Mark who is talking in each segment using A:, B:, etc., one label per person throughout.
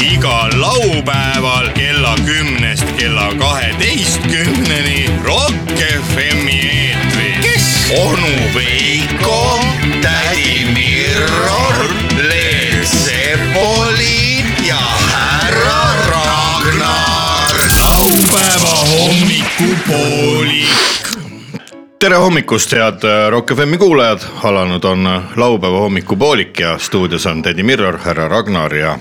A: igal laupäeval kella kümnest kella kaheteistkümneni Rock FM-i eetris . kes ? onu Veiko , tädi Mirror , Leel Sepoli ja härra Ragnar . laupäeva hommikupoolik . tere hommikust , head äh, Rock FM-i kuulajad , alanud on äh, laupäeva hommikupoolik ja stuudios on tädi Mirror , härra Ragnar ja ,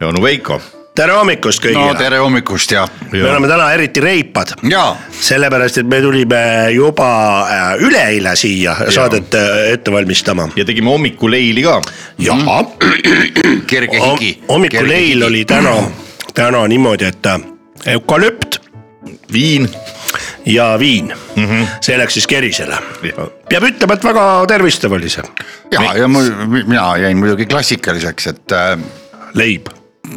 A: ja onu Veiko .
B: tere hommikust
C: no
B: kõigile no, .
C: tere hommikust ja ,
B: me oleme täna eriti reipad ,
C: ja
B: sellepärast et me tulime juba äh, üleeile siia ja. saadet äh, ette valmistama .
A: ja tegime hommikuleili ka .
B: jaa ,
C: kerge higi .
B: hommikuleil oli täna , täna niimoodi , et äh, eukalüpt
A: viin .
B: ja viin mm ,
C: Mhm.
B: -hmm. see läks siis kerisele
A: Jah. .
B: peab ütlema , et väga tervistav oli see
C: ja , ja mul , mina jäin muidugi klassikaliseks , et äh,
B: leib .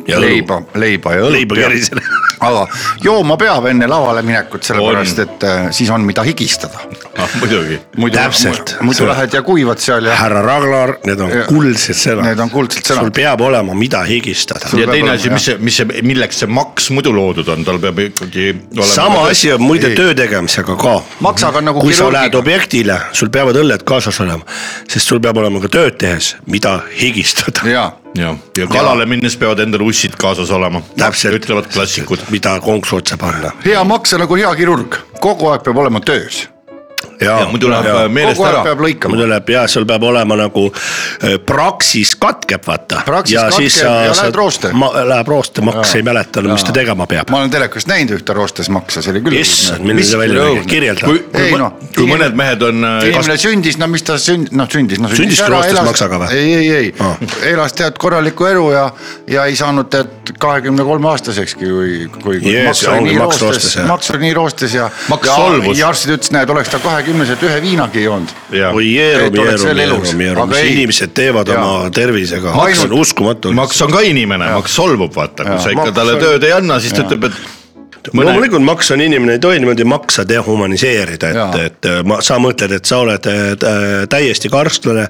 C: leiba , leiba ja õlut .
B: Leiba kerisele. .
C: aga jooma peab enne lavale minekut , sellepärast et äh, siis on mida higistada .
A: Ah, muidugi .
B: Täpselt.
C: muidu lähed ja kuivad seal ja .
B: härra Ragnar , need on
C: Ja.
B: kuldsed sõnad .
C: Need on kuldsed sõnad.
B: sul peab olema , mida higistada .
A: ja teine
C: olema,
A: asi , mis see , mis see , milleks see maks muidu loodud on , tal peab ikkagi olema .
B: sama asi on muide
C: Ei.
B: töö tegemisega ka .
C: Maksaga on nagu
B: kui sa
C: kirurgiga.
B: lähed objektile , sul peavad õlled kaasas olema , sest sul peab olema ka tööd tehes , mida higistada ,
C: ja ,
A: ja , ja kalale minnes peavad endal ussid kaasas olema .
B: Täpselt.
A: ütlevad klassikud .
B: mida konksu otsa panna .
C: hea maksa nagu hea kirurg , kogu aeg peab olema töös .
A: ja muidu läheb meelest
C: kogu aeg
A: ära .
C: peab lõikama
B: Äh, muidu . läheb ja sul peab olema nagu äh, praksis katkeb , vaata .
C: Praksis katkeb ja lähed rooste.
B: Läheb rooste , maks ei mäleta , mis ta tegema peab
C: ma . olen telekast näinud ühte roostes maksa , see oli küll .
B: issand , milline see välja nägi , kirjelda .
C: Ei
A: kui,
C: noh.
A: kui mõned mehed on äh, kas-
C: inimene sündis , no mis ta sünd- , noh sündis , no
B: Sündis ta roostes maksaga või?
C: ei , ei , ei
B: Aa.
C: ah. , elas tead korralikku elu ja , ja ei saanud tead kahekümne kolme aastasekski , kui , kui kui
B: Jees,
C: maks oli
B: ongi
C: nii
B: maks roostes,
C: roostes
B: jah. ,
C: maks oli nii roostes ja .
A: Maks solvus.
C: ja arstid ütlesid , näed , oleks ta kahekümneselt ühe viinagi joonud .
A: Jah.
B: oi jeerum ,
C: Et oleks
B: jeerum ,
C: veel elus.
B: jeerum , jeerum ,
C: Aga
B: mis
C: ei.
B: inimesed teevad
C: Jaa.
B: oma tervisega , maks on
C: Ainult-
B: uskumatu .
A: maks on ka inimene , maks solvub , vaata , kui
C: Jaa.
A: sa ikka
C: Maks
A: talle
C: on-
A: tööd ei anna , siis ta ütleb , et
B: Mõne...
A: mõne ,
B: loomulikult maks on inimene , ei tohi niimoodi maksa dehumaniseerida , et ,
C: Jaa.
B: et äh, ma, sa mõtled , et sa oled äh, täiesti karstlane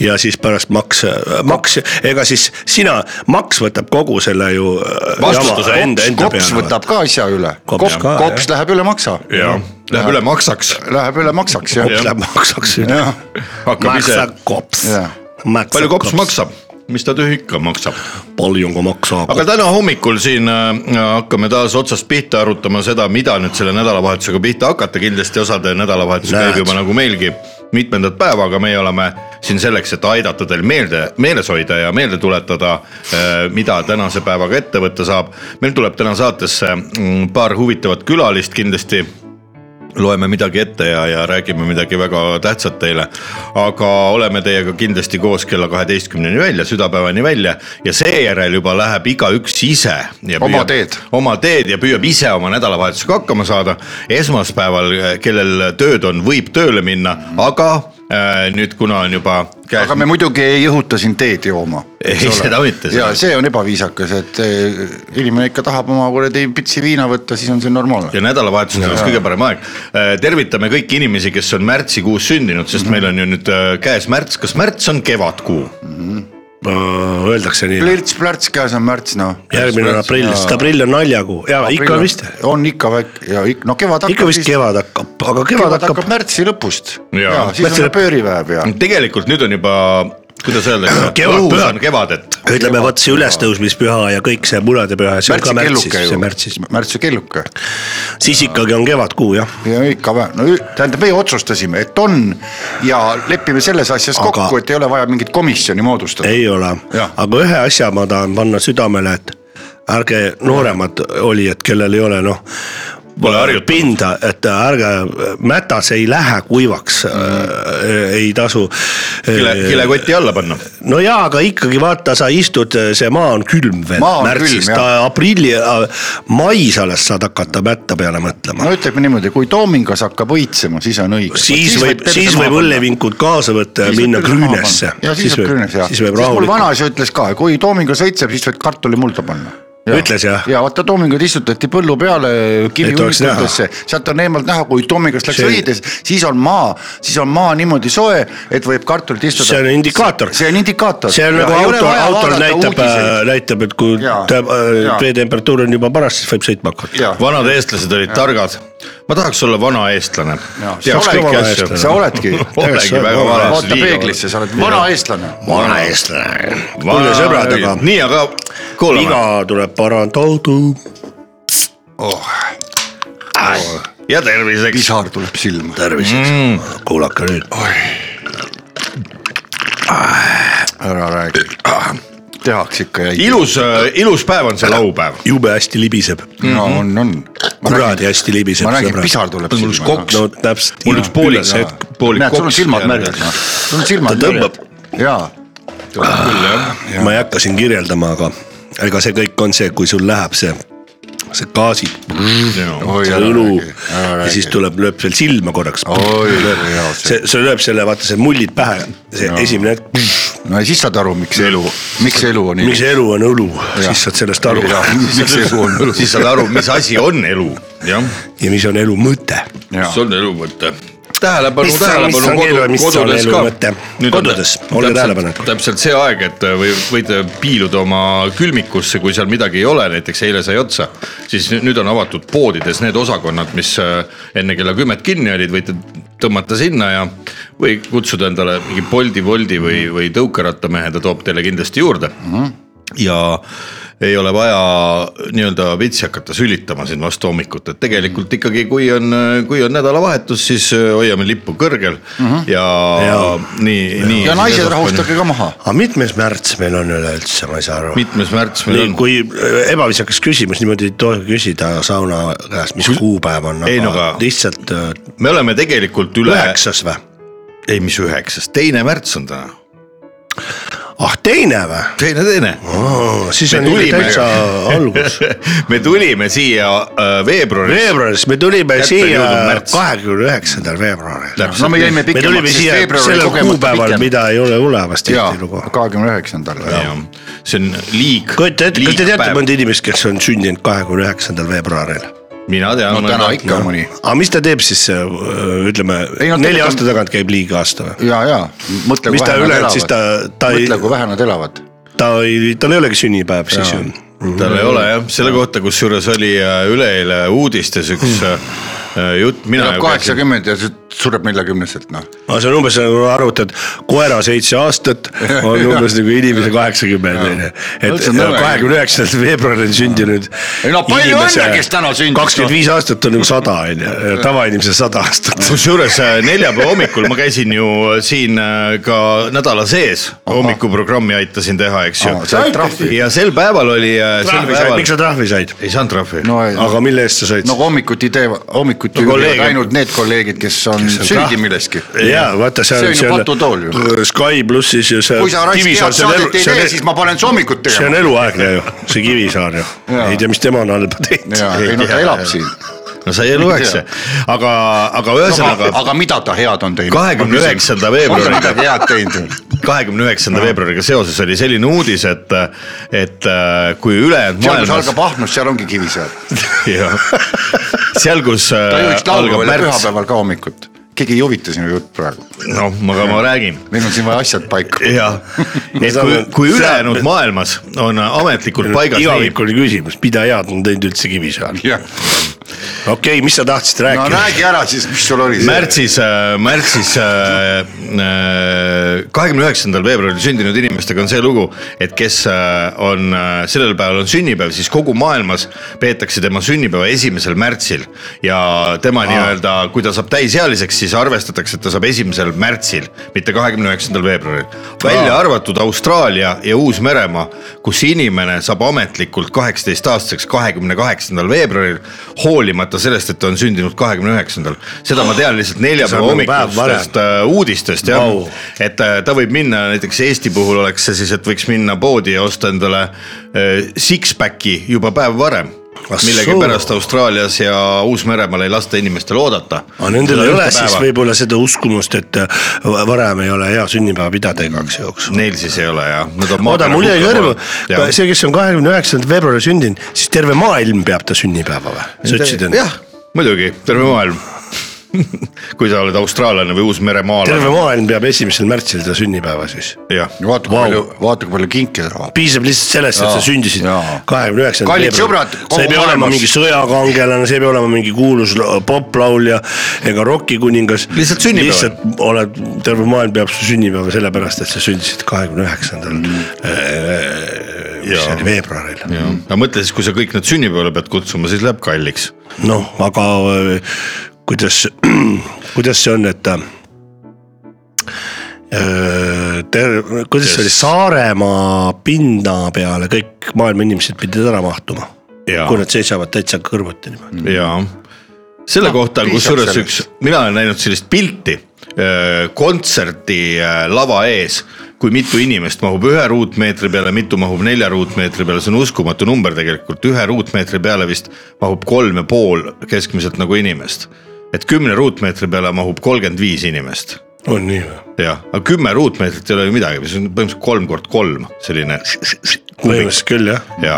B: ja siis pärast maks , maks , ega siis sina , maks võtab kogu selle ju äh,
A: Vastutuse
B: jama
A: enda-
C: kops võtab ka asja üle ,
B: Kops
C: kops,
B: ka,
C: kops läheb üle maksa .
A: jah , läheb üle maksaks ,
C: Läheb üle maksaks jah
A: Kops.
B: kops
A: jah.
B: läheb maksaks üle ,
C: jah ,
A: hakkab ise ,
B: maksakops
C: Jaa. .
A: palju kops ? maksab , mis ta tühi ikka maksab .
B: palju kui maksab .
A: aga täna hommikul siin äh, hakkame taas otsast pihta arutama seda , mida nüüd selle nädalavahetusega pihta hakata , kindlasti osade nädalavahetus
B: Näed.
A: käib juba nagu meilgi mitmendat päeva , aga meie oleme siin selleks , et aidata teil meelde , meeles hoida ja meelde tuletada , mida tänase päevaga ette võtta saab . meil tuleb täna saatesse mm, paar huvitavat külalist kindlasti loeme midagi ette ja , ja räägime midagi väga tähtsat teile . aga oleme teiega kindlasti koos kella kaheteistkümneni välja , südapäevani välja ja seejärel juba läheb igaüks ise .
C: Oma teed.
A: oma teed ja püüab ise oma nädalavahetusega hakkama saada . esmaspäeval , kellel tööd on , võib tööle minna , aga äh, nüüd , kuna on juba käes
C: aga me muidugi ei õhuta sind teed jooma .
A: Ei, seda mitte, seda
C: ja
A: mitte.
C: see on ebaviisakas , et eh, inimene ikka tahab oma kuradi pitsi viina võtta , siis on see normaalne .
A: ja nädalavahetus on selleks kõige parem aeg . tervitame kõiki inimesi , kes on märtsikuus sündinud ,
C: Mhm.
A: sest meil on ju nüüd äh, käes märts , kas märts on kevadkuu ?
B: Äh, Öeldakse nii ,
C: plirts-plärts käes on märts , noh .
B: järgmine on aprill , sest aprill on naljakuu ja ikka vist ,
C: on ikka väike ja ikka , no kevad hakkab .
B: ikka vist kevad hakkab , aga kevad hakkab
C: märtsi lõpust .
A: Jaa.
C: ja siis
B: Märtsi
C: on
B: lõpp-
C: pööripäev ja .
A: tegelikult nüüd on juba , kuidas öeldakse ,
B: Kevad-
A: õhus on kevadet .
B: ütleme vot see ülestõusmispüha ja kõik see munadepüha , see on ka märtsis ,
C: märtsi kelluke
B: see
C: ju ,
B: märtsis ,
C: märtsi kelluke
B: siis ikkagi on kevadkuu jah .
C: ja ikka vä- , no ü- tähendab , meie otsustasime , et on ja lepime selles asjas
B: Aga-
C: aga... kokku , et ei ole vaja mingit komisjoni moodustada .
B: ei ole ,
C: Jah.
B: aga ühe asja ma tahan panna südamele , et ärge nooremad olijad , kellel ei ole noh .
A: Pole harjutanud.
B: pinda , et ärge , mätas ei lähe kuivaks
C: Mm.
B: äh, , ei tasu .
A: kile , kilekoti alla panna .
B: no jaa , aga ikkagi vaata , sa istud , see maa on külm veel
C: Maa on
B: märtsis ,
C: külm, jah.
B: ta aprilli , mais alles saad hakata mätta peale mõtlema .
C: no ütleme niimoodi , kui toomingas hakkab õitsema , siis on õige .
B: siis võib , siis võib . õllevinkud kaasa võtta ja minna küünesse .
C: ja siis võib küünesse ja .
B: siis võib
C: mul
B: rahulikult .
C: vanaisa ütles ka , kui toomingas õitseb , siis võid kartuli mulda panna .
B: ütles jah ?
C: ja vaata toominguid istutati põllu peale
B: Et oleks
C: kivihunnikutesse , sealt on eemalt näha , kui toomingast läks
B: See-
C: õides , siis on maa , siis on maa niimoodi soe , et võib kartulit istuda .
B: see on indikaator .
C: see on indikaator .
B: see on nagu auto , autol näitab , äh, näitab , et kui
C: Jaa.
B: ta- äh,
C: Jaa.
B: veetemperatuur on juba paras , siis võib sõitma hakata .
C: jah ,
A: vanad eestlased olid targad . ma tahaks olla vana eestlane .
C: Jaa,
A: teaks
C: sa
A: kõiki
B: oled-
A: asju .
C: sa oledki.
A: olengi väga vana .
C: vaata peeglisse , sa oled vana eestlane .
B: vana eestlane . kuulge sõbrad , aga
A: nii , aga kuulame
B: viga . tuleb parandada . Oh,
A: ja terviseks . Mm.
C: pisar tuleb silma .
B: terviseks , kuulake nüüd .
C: ära räägi .
B: Ah.
C: tehakse ikka ja .
A: ilus , ilus päev on see laupäev .
B: jube hästi libiseb ,
C: no on , on .
B: Mhm. kuradi hästi libiseb .
C: ma räägin , pisar tuleb
A: Mul üks
C: silma .
A: koks.
B: no täpselt .
A: mul üks poolik , poolik
C: näed , sul on silmad märjad , noh . sul on silmad
B: Ta tõmbab. .
C: jaa ,
B: ma ei hakka siin kirjeldama , aga ega see kõik on see , kui sul läheb see , see gaasi Mm.
C: Oi,
B: see
C: ära
B: õlu
C: räägi, ära
B: ja
C: räägi.
B: siis tuleb , lööb veel silma korraks .
C: Oi, kui hea see-
B: see , see lööb selle , vaata see mullid pähe , see
C: Jaa.
B: esimene hetk ,
C: no ja siis saad aru , miks elu , miks elu on
B: miks
C: ilus .
B: elu on õlu , siis saad sellest aru ja
C: miks elu on ilus .
A: siis saad aru , mis asi on elu . jah ,
B: mis on elu mõte .
A: mis on elu mõte . tähelepanu ,
B: Mis on- mis on elu ja
A: tähelepanu
B: mis on
A: kodu- kodudes
B: elu mõte?
A: ka .
B: Kodudes, olge tähelepanelikud.
A: täpselt see aeg , et äh, või võite piiluda oma külmikusse , kui seal midagi ei ole , näiteks eile sai otsa . siis nü- nüüd on avatud poodides need osakonnad , mis äh, enne kella kümmet kinni olid , võite tõmmata sinna ja või kutsuda endale mingi Bolti , Woldi või , või tõukerattamehe , ta toob teile kindlasti juurde mm . -hmm ja ei ole vaja nii-öelda vitsi hakata sülitama siin vastu hommikut , et tegelikult ikkagi , kui on , kui on nädalavahetus , siis äh, hoiame lippu kõrgel mm -hmm. ja, ja
B: Jaa.
A: nii , nii .
C: Mhm. ja naised , rahustage ka maha .
B: aga mitmes märts meil on üleüldse , ma ei saa aru .
A: mitmes märts meil on ?
B: kui äh, ebaviisakas küsimus , niimoodi ei tohi küsida sauna käest , mis kuupäev on ,
A: Ei, no
B: aga
A: aga-
B: lihtsalt äh,
A: me oleme tegelikult üle ,
B: üheksas või ?
A: ei mis üheksas , teine märts on täna .
B: ah , teine või ?
A: teine , teine .
B: siis
A: Me
B: on ikka
A: tulime.
B: täitsa algus .
A: me tulime siia äh, veebruaris .
B: veebruaris , me tulime
A: Kätte on
B: siia
A: jõudnud märts.
B: kahekümne üheksandal veebruaril .
C: no me jäime
B: me tulime
C: pikemaks , sest
B: siia
C: veebruar oli
B: sellel
C: kogemata
B: kuupäeval ,
C: pikem .
B: mida ei ole olemas
C: jaa
B: tihtilugu .,
C: kahekümne üheksandal .
A: see on liig .
B: kujuta ette , kas te teate mõnda inimest , kes on sündinud kahekümne üheksandal veebruaril ?
A: mina tean .
C: no täna ikka mõni .
B: aga mis ta teeb siis , ütleme
C: Ei, no
B: neli
C: tegelikult
B: aasta tagant käib liiga aasta või ?
C: ja , ja mõtle ,
B: Mis
C: kui
B: ta
C: vähe nad
B: ülejäänud siis
C: elavad
B: ta- . ta ei-
C: mõtle , kui vähe nad elavad .
B: ta ei , tal ei olegi sünnipäev siis ju .
A: tal
C: Mhm.
A: ei ole jah , selle kohta , kusjuures oli äh, üleeile uudistes üks äh, jutt , mina
C: elab . Mhm. kaheksakümmend ja siis sureb neljakümneselt , noh .
B: aga see on umbes nagu arvutad koera seitse aastat on umbes nagu inimese kaheksakümmend onju . et äh,
C: Üldse nõme.
B: kahekümne üheksandal veebruaril sündinud .
C: Ei no palju õnne, kes täna sündis, noh.
B: kakskümmend viis aastat on nagu sada onju , tavainimesel sada aastat .
A: kusjuures äh, neljapäeva hommikul ma käisin ju äh, siin äh, ka nädala sees hommikuprogrammi aitasin teha , eks ju
C: Aa, said Said trahvi? .
A: ja sel päeval oli .
B: trahvi said , miks sa trahvi said ?
A: ei saanud trahvi
C: no ,
B: aga mille eest sa said ?
C: no hommikuti ei tee , hommikuti
A: No
C: no,
A: kolleeg-
C: ainult need kolleegid , kes on süüdi milleski .
B: ja vaata , see
C: See
B: on
C: on ju patutool ju.
B: seal Äh, Sky plussis ju see .
C: kui sa raisk head saadet ei tee , siis ma panen su hommikut
B: e- see on
C: tegema .
B: eluaegne ju , see Kivisaar ju ,
C: Jaa.
B: ei tea , mis tema on halba teinud .
C: ja , ei no ta elab siin .
A: no sai eluaegse , aga , aga
C: aga,
A: ühesõnaga
C: aga mida ta head on teinud ?
A: kahekümne üheksanda
C: on ta
A: veebruariga
C: midagi head teinud või ?
A: kahekümne üheksanda veebruariga seoses oli selline uudis , et , et äh, kui ülejäänud
C: seal , kus
A: maailmas
C: algab Ahnus , seal ongi Kivisäär .
A: Jah. seal , kus
C: ta
A: äh,
C: juhiks
A: algab
C: laupäeval ja
A: märts ,
C: pühapäeval ka hommikut . keegi ei huvita sinu jutt praegu .
A: noh , aga ma räägin .
C: meil on siin vaja asjad paika .
A: jah , et kui
B: saame- ,
A: kui ülejäänud maailmas on äh, ametlikult paigas nii ,
B: igavik oli küsimus , mida head on teinud üldse Kivisaar ? okei okay, , mis sa tahtsid
C: no
B: rääkida ?
C: räägi ära siis , mis sul oli .
A: märtsis , märtsis äh, kahekümne üheksandal veebruaril sündinud inimestega on see lugu , et kes äh, on , sellel päeval on sünnipäev , siis kogu maailmas peetakse tema sünnipäeva esimesel märtsil ja tema nii-öelda , kui ta saab täisealiseks , siis arvestatakse , et ta saab esimesel märtsil , mitte kahekümne üheksandal veebruaril . välja arvatud Austraalia ja Uus-Meremaa , kus inimene saab ametlikult kaheksateistaastaseks kahekümne kaheksandal veebruaril , hoolimata sellest , et ta on sündinud kahekümne üheksandal . seda ma tean lihtsalt
B: See on
A: neljapäeva
B: nagu päev varem.
A: hommikustest äh, uudistest jah
B: Vau.
A: wow. , et äh, ta võib minna näiteks Eesti puhul oleks see siis , et võiks minna poodi ja osta endale äh, six-pack'i juba päev varem millegipärast Austraalias ja Uus-Meremaal ei lasta inimestel oodata .
B: aga nendel ei ole siis . võib-olla seda uskumust , et äh, varem ei ole hea sünnipäeva pidada igaks juhuks .
A: Neil siis ei ole jah .
B: oota , mul jäi kõrvu , see , kes on kahekümne üheksandal veebruaril sündinud , siis terve maailm peab ta sünnipäeva või ? sa ütlesid enne ?
A: jah , muidugi , terve maailm . kui sa oled austraallane või
B: terve
A: uusmeremaalane ,
B: maailm peab esimesel märtsil ta sünnipäeva siis .
A: jah .
C: vaata kui palju , vaata kui palju kinke ta saab .
B: piisab lihtsalt sellest , et sa
C: Jaa,
B: sündisid
C: jaa.
B: kahekümne üheksandal
C: Kallid sõbrad,
B: sa ei
C: kogu
B: pea olema
C: maailmas.
B: mingi sõjakangelane , sa ei pea olema mingi kuulus lo- poplaulja ega rokikuningas .
A: Lihtsalt sünnipäeval.
B: lihtsalt oled , terve maailm peab su sünnipäeva sellepärast , et sa sündisid kahekümne üheksandal ,
C: Mm.
B: mis
A: Jaa.
B: see oli , veebruaril .
A: aga mõtle siis , kui sa kõik need sünnipäevale pead kutsuma , siis läheb kalliks .
B: noh , aga öö, kuidas , kuidas see on , et äh, öö, äh, ter- , kuidas see oli ,
A: Kes-
B: Saaremaa pinna peale kõik maailma inimesed pidid ära mahtuma .
A: Jaa.
B: kui nad seisavad täitsa kõrvuti niimoodi .
A: jaa , selle no, kohta on
C: Noh, piisab
A: kusjuures
C: sellest.
A: üks , mina olen näinud sellist pilti öö, kontserdi öö, lava ees , kui mitu inimest mahub ühe ruutmeetri peale , mitu mahub nelja ruutmeetri peale , see on uskumatu number tegelikult , ühe ruutmeetri peale vist mahub kolm ja pool keskmiselt nagu inimest . et kümne ruutmeetri peale mahub kolmkümmend viis inimest ,
C: Mm.
B: on nii või ?
A: jah , aga kümme ruutmeetrit ei ole ju midagi , see on põhimõtteliselt kolm kord kolm selline
B: põhimõtteliselt küll jah ,
A: ja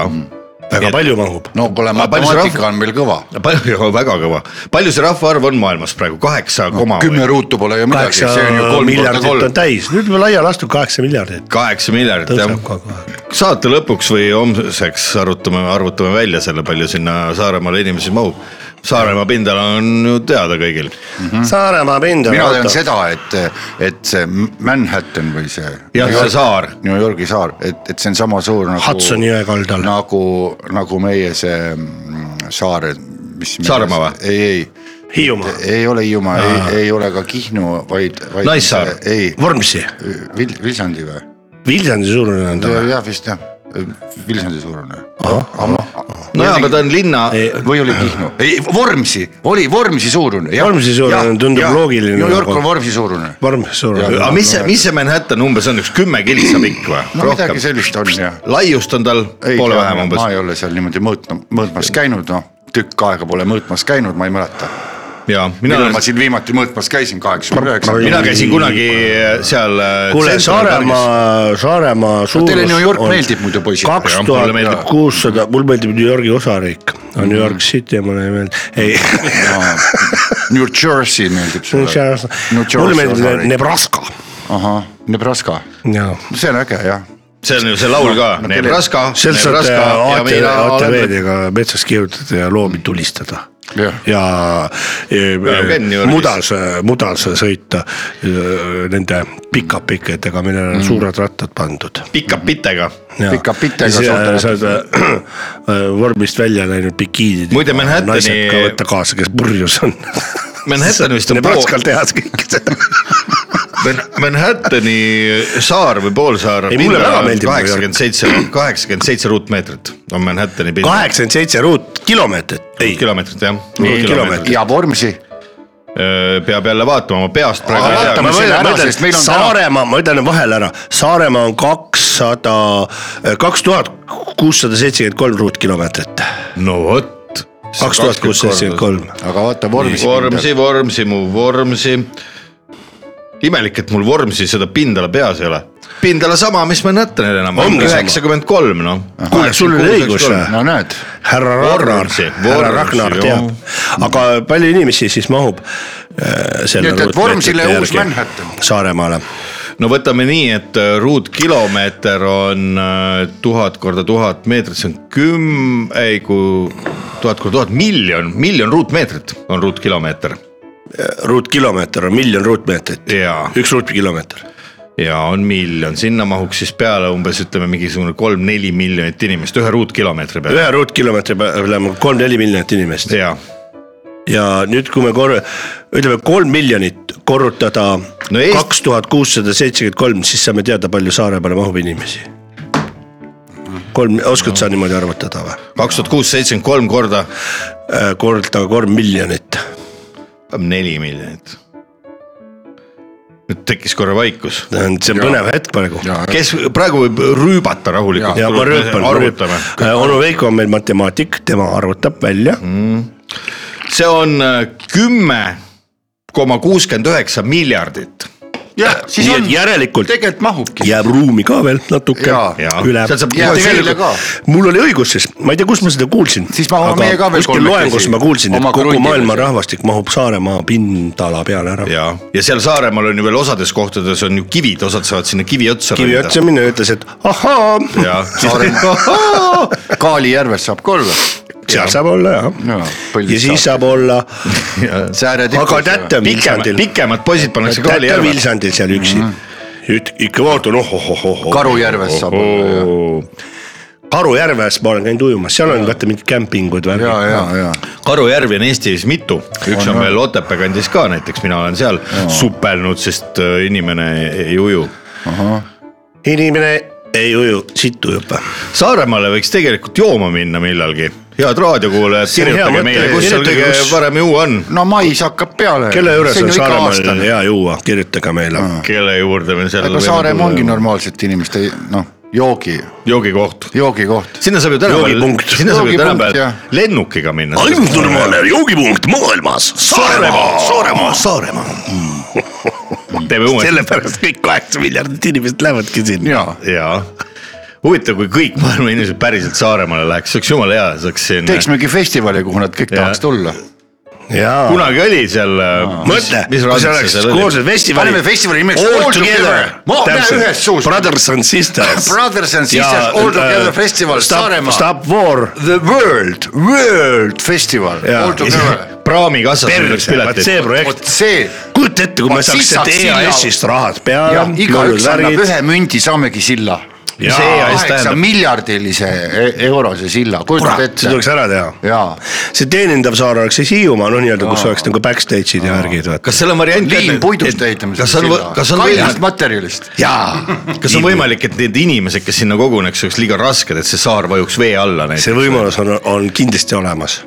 B: väga palju mahub .
C: no kuule ,
A: Aga palju see
C: matemaatika on meil kõva .
A: palju , väga kõva , palju see rahvaarv on maailmas praegu , kaheksa koma või?
C: kümme ruutu pole ju midagi ,
B: kaheksa
C: see on ju kolm korda
B: miljardit on
C: kolm .
B: täis , nüüd juba laiali astub kaheksa miljardit .
A: kaheksa miljardit jah
B: tõuseb , kogu aeg .
A: saate lõpuks või homseks arutame , arvutame välja selle , palju sinna Saaremaale inimesi mahub . Saaremaa pindala on ju teada kõigil ,
B: Saaremaa pind on
C: Mhm. mina tean . seda , et , et see Manhattan või see .
A: jah see saar ,
C: New Yorgi saar , et , et see on sama suur nagu .
B: Hudsoni jõe kaldal.
C: nagu , nagu meie see mm, saar , mis .
A: Saaremaa või?
C: ei , ei ,
B: Hiiumaa ,
C: ei ole Hiiumaa , ei , ei ole ka Kihnu , vaid, vaid .
A: Naissaar.
C: ei ,
B: Vormsi ,
C: Vil- , Viljandi või ?
B: Viljandi suurune on ta või ?
C: jah , vist jah , Viljandi suurune .
A: nojah , aga ta on linna ,
C: või oli Kihnu , ei Vormsi , oli Vormsi suurune .
B: Vormsi suurune tundub loogiline
C: New York
B: nagu.
C: on Vormsi suurune .
B: Vormsi suurune
A: aga . mis see , mis see Manhattan umbes on , üks kümme kiltsa pikk või ?
C: no midagi sellist on jah .
A: laiust on tal
C: ei
A: poole vähem
C: ma
A: umbes
C: ei ole seal niimoodi mõõtma , mõõtmas käinud , noh tükk aega pole mõõtmas käinud , ma ei mäleta .
A: ja mina
C: millal ma
A: olen ,
C: siin viimati mõõtmas käisin , kaheksakümne üheksa .
A: mina käisin kunagi seal . äh,
B: kuule , Saaremaa , Saaremaa suurus .
C: teile New York meeldib muidu, poisid.
B: kaks
A: Jah, mulle meeldib.
B: tuhat kuussada , mulle meeldib New Yorgi osariik , New York City mulle ei meeldi , ei .
C: New Jersey meeldib sulle . New
B: mulle
C: Jersey
B: meeldib Ne-
C: osariik ,
B: Nebraska .
C: ahah , Nebraska ,
B: jaa ,
C: see on äge jah .
A: see on ju see laul ka , Nebraska ,
B: sealt saad
A: Nebraska ja
B: ATV-
A: mina olen ,
B: ATV-dega metsas kiirutada ja loomi tulistada
C: Jah.
B: ja eh,
A: New Yorgis.
B: mudas , mudas sõita eh, nende pikapiketega , millele on suured rattad pandud
A: pikapitega
B: Jaa.
C: Pika pitega
B: Ja siis,
C: saad-
B: äh, saad äh, vormist välja läinud bikiinid .
A: Muide, Manhattani-
B: naised ka võtta kaasa , kes purjus on .
A: Manhattan vist on
B: Nebraskal tehas kõik seda .
A: Man- Manhattani saar või poolsaar .
B: Ei, mulle väga meeldib New York.
A: kaheksakümmend seitse , kaheksakümmend seitse ruutmeetrit on Manhattani pind .
B: kaheksakümmend seitse ruutkilomeetrit , ei ,
A: kilomeetrit jah .
B: kilomeetrit.
C: ja Vormsi ,
A: peab jälle vaatama , ma peast praegu
C: Aga
A: ei
C: vaatame
A: tea .
B: ma
C: selle
B: mõtlen ,
C: ära,
B: ma ütlen
C: sest meil on täna-
B: Saaremaa , ma ütlen vahele ära , Saaremaa on kakssada , kaks tuhat kuussada seitsekümmend kolm ruutkilomeetrit .
A: no vot .
B: kaks tuhat kuussada seitsekümmend . kolm .
C: aga vaata Vormsi .
A: Vormsi , Vormsi , mu Vormsi . imelik , et mul Vormsi seda pindala peas ei ole . pindala sama , mis Manhattanil enam on ,
B: Ongi sama.
A: üheksakümmend kolm noh .
B: kuule , sul oli õigus .
C: no näed ,
B: härra Ragnar
A: Vormsi, ,
B: härra
A: Vormsi,
B: Ragnar
A: jah.
B: teab , aga palju inimesi siis mahub äh, selle
C: Nii et- et
B: ruutmeetrite
C: Vormsile uus
B: järgi
C: Manhattan.
B: Saaremaale ,
A: no võtame nii , et äh, ruutkilomeeter on äh, tuhat korda tuhat meetrit , see on küm- , ei kui tuhat korda tuhat , miljon , miljon ruutmeetrit on ruutkilomeeter
B: ruutkilomeeter on miljon ruutmeetrit ,
A: ja ,
B: üks ruutkilomeeter .
A: ja on miljon , sinna mahuks siis peale umbes ütleme mingisugune kolm-neli miljonit inimest ühe ruutkilomeetri peale
B: ühe ruutkilomeetri peale on kolm-neli miljonit inimest
A: ja
B: ja nüüd , kui me korra , ütleme kolm miljonit korrutada
A: No Eest-
B: kaks tuhat kuussada seitsekümmend kolm , siis saame teada , palju Saaremaale mahub inimesi . kolm , oskad sa niimoodi arvutada või ? Äh,
A: kaks tuhat kuussada seitsekümmend kolm korda
B: korda kolm miljonit
A: neli miljonit . nüüd tekkis korra vaikus .
B: see on põnev hetk praegu .
A: kes praegu võib rüübata rahulikult .
B: ja ma rööpan ,
A: arvutame .
B: onu Veiko on meil matemaatik , tema arvutab välja mm. .
A: see on äh, kümme koma kuuskümmend üheksa miljardit .
C: jah , siis
B: nii
C: on
B: et , järelikult
C: tegelikult mahubki .
B: jääb ruumi ka veel natuke
C: Jaa.
A: Jaa.
B: üle
A: Seal saab- .
C: Jääb seile ka.
B: mul oli õigus siis , ma ei tea , kus ma seda kuulsin .
C: Siis mahume meie ka veel
B: kuskil
C: kolmekesi
B: loengus ma kuulsin , et
C: oma
B: kogu
C: krundile
B: maailma
C: seal.
B: rahvastik mahub Saaremaa pindala peale ära .
A: ja , ja seal Saaremaal on ju veel osades kohtades on ju kivid , osad saavad sinna kivi otsa .
B: kivi otsa . minna ja ütles , et ahaa ,
C: Kaali järves saab ka olla .
B: seal saab olla
C: Jaa,
B: jah . ja
C: põldist
B: siis saab
C: saab.
B: olla
C: sääre
B: aga Tätte
A: pikemad ,
B: Vilsandil ,
A: pikemad poisid pannakse kaali
B: Tätte
A: järve .
B: Vilsandil seal üksi . ikka vaatan , ohohohoho .
C: Karujärves Mhm. saab olla jah.
B: Karujärves ma olen käinud ujumas , seal on vaata mingid kämpingud või
C: ja , ja , ja
A: Karujärvi on Eestis mitu , üks on veel Otepää kandis ka näiteks , mina olen seal supelnud , sest äh, inimene ei uju
B: inimene ei uju , siit ujub .
A: Saaremaale võiks tegelikult jooma minna millalgi , head raadiokuulajad ,
B: on hea
A: kirjutage
B: mõte,
A: meile , kus seal
B: kirjutage,
A: kõige
B: kus-
A: parem juua on ,
C: no mais hakkab peale .
B: kelle juures on Saaremaal hea juua , kirjutage meile .
C: Mhm.
A: kelle juurde me seal .
C: aga Saaremaa ongi . normaalsete inimeste noh , joogi ,
A: joogikoht ,
C: joogikoht .
A: sinna saab ju tänapäeval
B: Joogipunkt. ,
A: sinna saab ju
C: Joogipunkt,
A: tänapäeval
C: jah.
A: lennukiga minna .
B: joogipunkt maailmas , Saaremaa , Saaremaa , Saaremaa .
A: teeme uuesti ,
B: sellepärast kõik kaheksa miljardit inimest lähevadki sinna .
C: ja
A: jaa . huvitav , kui kõik maailma inimesed päriselt Saaremaale läheks , see oleks jumala hea , saaks siin .
C: teeks mingi festivali , kuhu nad kõik
A: Jah.
C: tahaks tulla .
B: jaa .
A: kunagi oli seal . äh,
B: mõtle , kui see oleks koostöös festivali .
C: Paneme festivali nimeks All
B: All
C: Together.
B: Together .
C: Ma- näe, ühes suus.
B: Brothers and Sisters .
C: Brothers and Sisters All Together Festival Saaremaa.
B: äh, Stop War .
C: The World , World Festival .
B: Jaa.
A: praami kassas müüdaks
B: perse , vaat see
A: pileteid .
C: vot
B: projekt .
C: see ,
B: kujuta ette , kui
C: Vot
B: me
C: siis
B: saaks
C: saaks
B: sealt
C: silla.
B: EAS-ist rahad peale .
C: igaüks annab ühe mündi , saamegi silla .
B: Jaa.
C: kaheksa
A: tähendab-
C: miljardilise e- eurose silla , kujutad
B: kurat , see
C: ette .
B: tuleks ära teha .
C: jaa ,
B: see teenindav saar oleks siis Hiiumaa , noh , nii-öelda , kus oleks nagu backstage'id ja värgid , vaata .
A: kas seal on variant ?
C: liimpuidust ehitame
A: kas
C: selle
A: on ,
C: silla .
A: kas on võimalik
C: kallist , materjalist .
B: jaa .
A: kas on ? võimalik , et need inimesed , kes sinna koguneks , oleks liiga rasked , et see saar vajuks vee alla näiteks ?
B: see võimalus on , on kindlasti olemas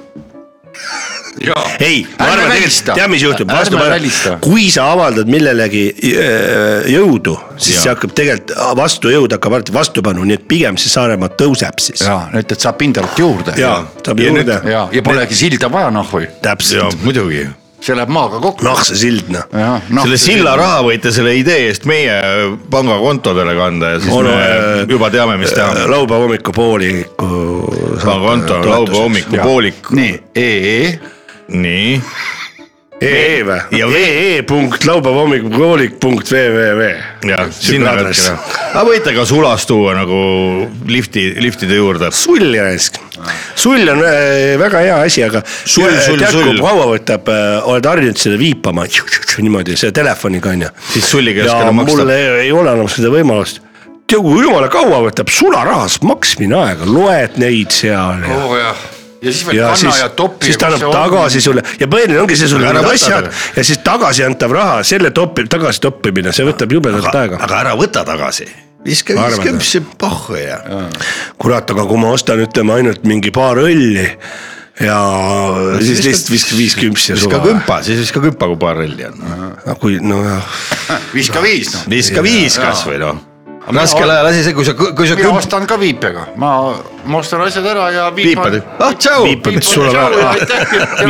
B: ei , ma
C: Ärme
B: arvan tegelikult ,
C: välista.
B: tead , mis juhtub ,
C: Ärme välista.
B: vastupanu , kui sa avaldad millelegi äh, jõudu , siis
A: Jaa.
B: see hakkab tegelikult , vastujõud hakkab alati vastupanu , nii et pigem see Saaremaa tõuseb siis . ja,
C: jaa , nüüd , et saab pindalt juurde .
B: ja
C: jaa ,
B: saab
A: Ja
B: juurde ,
C: ja polegi silda vaja nahhui ,
A: jaa
B: täpselt ,,
A: muidugi .
C: see läheb maaga kokku .
B: noh see sild noh .
A: No, selle silla raha võite selle idee eest meie pangakontodele kanda ja siis
B: Onu,
A: Onu, me
B: äh,
A: juba teame , mis teha .
B: laupäeva hommikupooliku . äh,
A: pangakonto on laupäeva hommikupoolik ,
C: nii , EE ,
A: nii .
B: ee E või ?
A: Ja
B: ee punkt laupäeva hommikupoolik punkt vvv .
A: ja sinna peabki
B: aadress.
A: ära . aga võite ka sulas tuua nagu lifti , liftide juurde .
B: sull ja raisk . sull on äh, väga hea asi , aga .
A: Sull, sull, sull.
B: kaua võtab , oled harjunud seda viipama niimoodi , selle telefoniga onju .
A: Siis sulliga ei
B: ja
A: oska enam maksta.
B: mul ei, ei ole enam seda võimalust . tea kui jumala kaua võtab sularahas maksmine aega , loed neid seal ja
C: oo Oh, jah , ja siis veel
B: ja
C: kanna
B: siis
C: ja , topi .
B: siis ta annab tagasi sulle ja põhiline ongi see , sul on
A: Ära
B: need
A: võta
B: asjad
A: taga.
B: ja siis tagasi antav raha , selle topi , tagasi toppimine , see võtab jubedalt aega .
A: aga ära võta tagasi . viska ,
B: Ma arvan,
A: viska
B: et-
A: üldse pohhu ja .
B: kurat , aga kui ma ostan , ütleme ainult mingi paar õlli ja no, siis lihtsalt viskab viis kümpsi ja
A: viska
B: suva .
A: kümpa , siis viska kümpa , kui paar relli on
B: kui nojah ,
C: viska viis noh .
A: viska viis kasvõi noh . raskel ajal asi see , kui sa , kui sa
C: mina
A: kümp- ,
C: ostan ka viipega , ma , ma ostan asjad ära ja
A: piipad , ah tšau .
B: Piipad, sul on ära.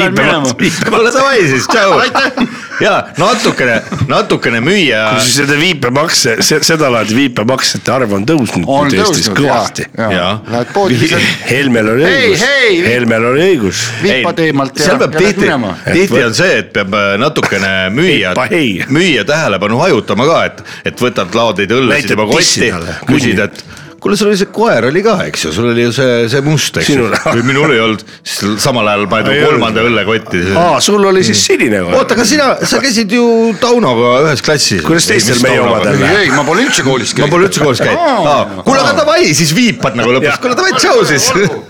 A: olla davai siis , tšau . ja natukene , natukene müüa .
B: siis seda viipemakse , sedalaadi viipemaksete arv on tõusnud
C: on
B: nüüd Eestis
C: tõusnud
B: kõvasti .
A: Jaa.
C: Lähed poodi , lisad
B: Helmel oli
C: Hei,
B: õigus
C: hei! ,
B: Helmel oli õigus .
C: viipad eemalt ja ,
A: seal
C: ja
A: peab
C: lähed
A: tihti
C: minema .,
A: tihti on see , et peab äh, natukene müüja
B: Viipa hei. ,
A: müüja tähelepanu hajutama ka , et , et võtad laodeid õllesid
B: Näitab
A: juba
B: tissi
A: kotti
B: talle. ,
A: küsid , et kuule , sul oli see koer oli ka , eks ju , sul oli ju see , see must , eks ju
B: Sinul- .
A: või minul ei olnud , siis samal ajal paned
B: Ei
A: ju kolmanda õllekotti .
B: aa , sul oli siis sinine või ?
A: oota , aga sina , sa käisid ju Taunoga ühes klassis .
B: Kuidas teistel meie omadel
C: ei
B: läheb? ,
C: ei , ma pole üldse koolis
A: ma
C: käinud .
A: pole üldse koolis
C: Aa.
A: käinud . kuule , aga davai , siis viipad nagu lõpuks , kuule davai , tšau siis .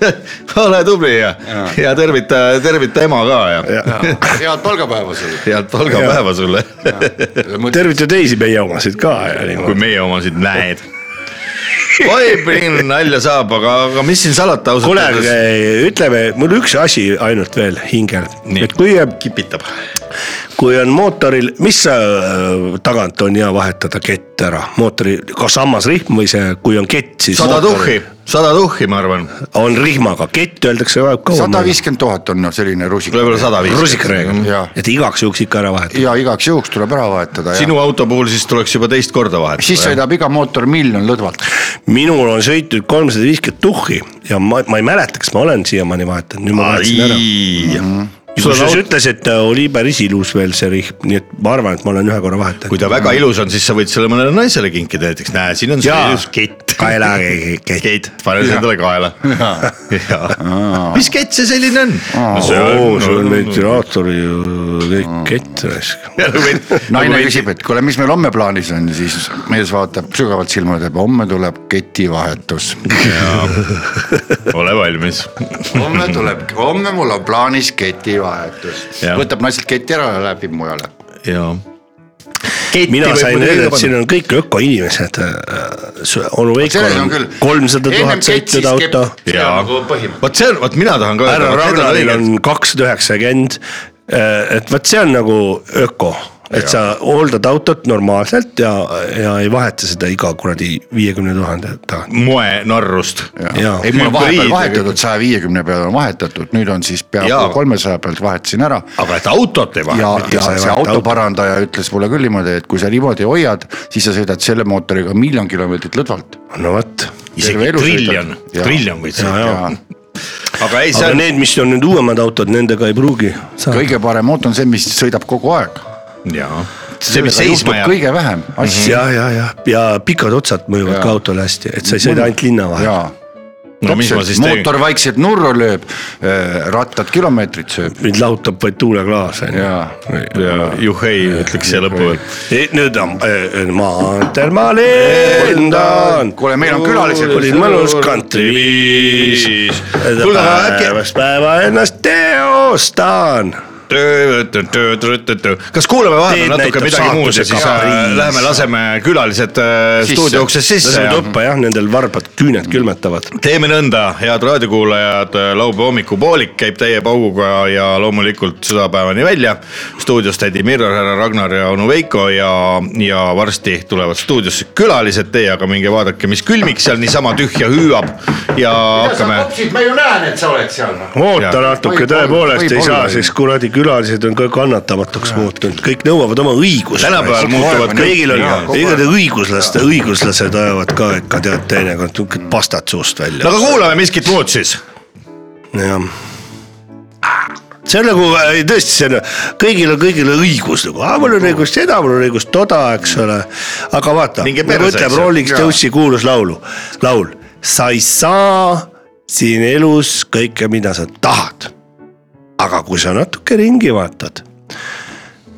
A: ole tubli ja , ja tervita , tervita ema ka ja
C: head palgapäeva sulle .
A: head palgapäeva sulle ,
B: tervita teisi meie omasid ka ja
A: kui
B: niimoodi .
A: meie omasid näed . oi , nalja saab , aga , aga mis siin salata ausalt
B: kuule , aga eh, ütleme , mul üks asi ainult veel hingel ,
A: Nii.
B: et kui eh,
A: kipitab .
B: kui on mootoril , mis äh, tagant on hea vahetada kett ära , mootori , kas sammas rihm või see , kui on kett , siis .
A: sada tuhhi , sada tuhhi , ma arvan ,
B: on rihmaga , kett öeldakse väga
C: sada
B: kaua .
C: viiskümmend tuhat on no selline rusik .
A: võib-olla sada viiskümmend .
C: Jaa.
B: et igaks juhuks ikka ära vahetada .
C: ja igaks juhuks tuleb ära vahetada ja
A: sinu auto puhul siis tuleks juba teist korda
C: siis
A: vahetada .
C: sõidab iga mootor miljon lõdvalt .
B: minul on sõitnud kolmsada viiskümmend tuhhi ja ma , ma ei mäleta , kas ma olen siiamaani vahetanud , nüüd ma vahetasin ära .
A: sul on
B: kusjuures
A: aut- ,
B: ütles , et eh, oli päris ilus veel see rihm , nii et ma arvan , et ma olen ühe korra
A: kui
B: vahetanud .
A: ta väga ilus on , siis sa võid selle mõnele naisele kinkida näiteks , näe , siin on see
B: Jaa.
A: ilus kett .
B: Kaela ke- ke-
A: kett , pane see endale kaela . mis kett see selline on ?
B: oo , sul on ventilaator ju kõik kett raisk .
A: Nagu
C: naine küsib , et kuule , mis meil homme plaanis on , siis mees vaatab sügavalt silma ja ütleb , homme tuleb ketivahetus .
A: ole valmis .
C: homme tuleb , homme mul on plaanis ketivahetus .
A: Jah.
C: võtab naiselt keti ära ja läheb mujale .
A: jaa .
B: mina sain öelda , et siin on kõik ökoinimesed . onu Veikol
C: selles on
B: on
C: küll .
B: kolmsada tuhat sõitnud auto .
A: jaa , nagu vot see on , vot mina tahan ka
B: härra
A: vot need on
B: Ragnaril
A: õiged.
B: on kakssada üheksakümmend . et vot see on nagu öko , et sa hooldad autot normaalselt ja , ja ei vaheta seda iga kuradi viiekümne tuhande tagant .
A: moenarrust .
B: Jaa.
C: ei , mul
A: Hübriid-
C: on vahepeal vahetatud , saja viiekümne peale on vahetatud , nüüd on siis
A: Jaa.
C: peaaegu kolmesaja pealt vahetasin ära
A: aga et autot ei
C: ja
A: vaheta ,.
C: ja
B: sa ei
C: see
B: vaheta autot.
C: autoparandaja ütles mulle küll niimoodi , et kui sa niimoodi hoiad , siis sa sõidad selle mootoriga miljon kilomeetrit lõdvalt .
B: no vot .
A: isegi
C: terve elu
A: triljon ,
C: sõidad. Jaa.
A: triljon võid
B: jaa.
A: sõita . aga ei , see
B: aga
A: on ,
B: need , mis on nüüd uuemad autod , nendega ei pruugi saada .
C: kõige parem auto on see , mis sõidab kogu aeg .
A: jaa . see , mis seisma jääb , Mhm.
C: kõige vähem asju .
B: ja , ja , ja , ja pikad otsad mõjuvad
C: Jaa.
B: ka autole hästi , et sa ei sõida ainult linna vahel .
C: jaa ,
A: no mis ma siis teen .
C: mootor vaikselt nurru lööb , rattad kilomeetrit sööb
B: mind lahutab vaid tuuleklaas on ju .
C: ja
A: juhhei , ütleks siia lõppu veel .
B: nüüd on äh, maanteel ma lendan .
C: kuule , meil on külalised .
B: oli mõnus kantriviis .
A: kuule , aga äkki .
B: päevast päeva ennast teostan .
A: kas kuulame vahepeal
B: Teed
A: natuke
B: näitab
A: midagi muud ja
B: saatuse
A: siis
B: kapariis.
A: äh, läheme laseme külalised äh,
C: Sisse.
A: stuudio uksest sisse
B: laseme
A: ja
B: tuppa jah , nendel varbad küüned külmetavad .
A: teeme nõnda , head raadiokuulajad , laupäeva hommikupoolik käib täie pauguga ja loomulikult südapäevani välja . stuudios tädi Mirro , härra Ragnar ja onu Veiko ja , ja varsti tulevad stuudiosse külalised , teie aga minge vaadake , mis külmik seal niisama tühja hüüab ja hakkame .
C: ma ju näen , et sa oled seal . noh.
B: oota
A: Jaa.
B: natuke ,
C: Võib-olla-
B: tõepoolest ei
C: võib-olla
B: saa ,
C: ei.
B: sest kuradi külalised on ka kannatamatuks muutunud , kõik nõuavad oma õigust .
A: Tänapäeval muutuvad kõik-
B: kõigil on
A: jaa, ,
C: kogu
B: ega te õiguslaste , õiguslased ajavad ka ikka tead teinekord niisugused pastad suust
A: no
B: välja .
A: aga kuulame miskit muud siis .
B: jah . see on nagu ei, tõesti , see on , kõigil on kõigil on õigus nagu , mul on õigus seda , mul on õigus toda , eks ole . aga vaata ,
A: Minge
B: nagu
A: perse, eks
B: ütleb
A: ju.
B: Rolling Stonesi kuulus laulu , laul , sa ei saa siin elus kõike , mida sa tahad . aga kui sa natuke ringi vaatad ,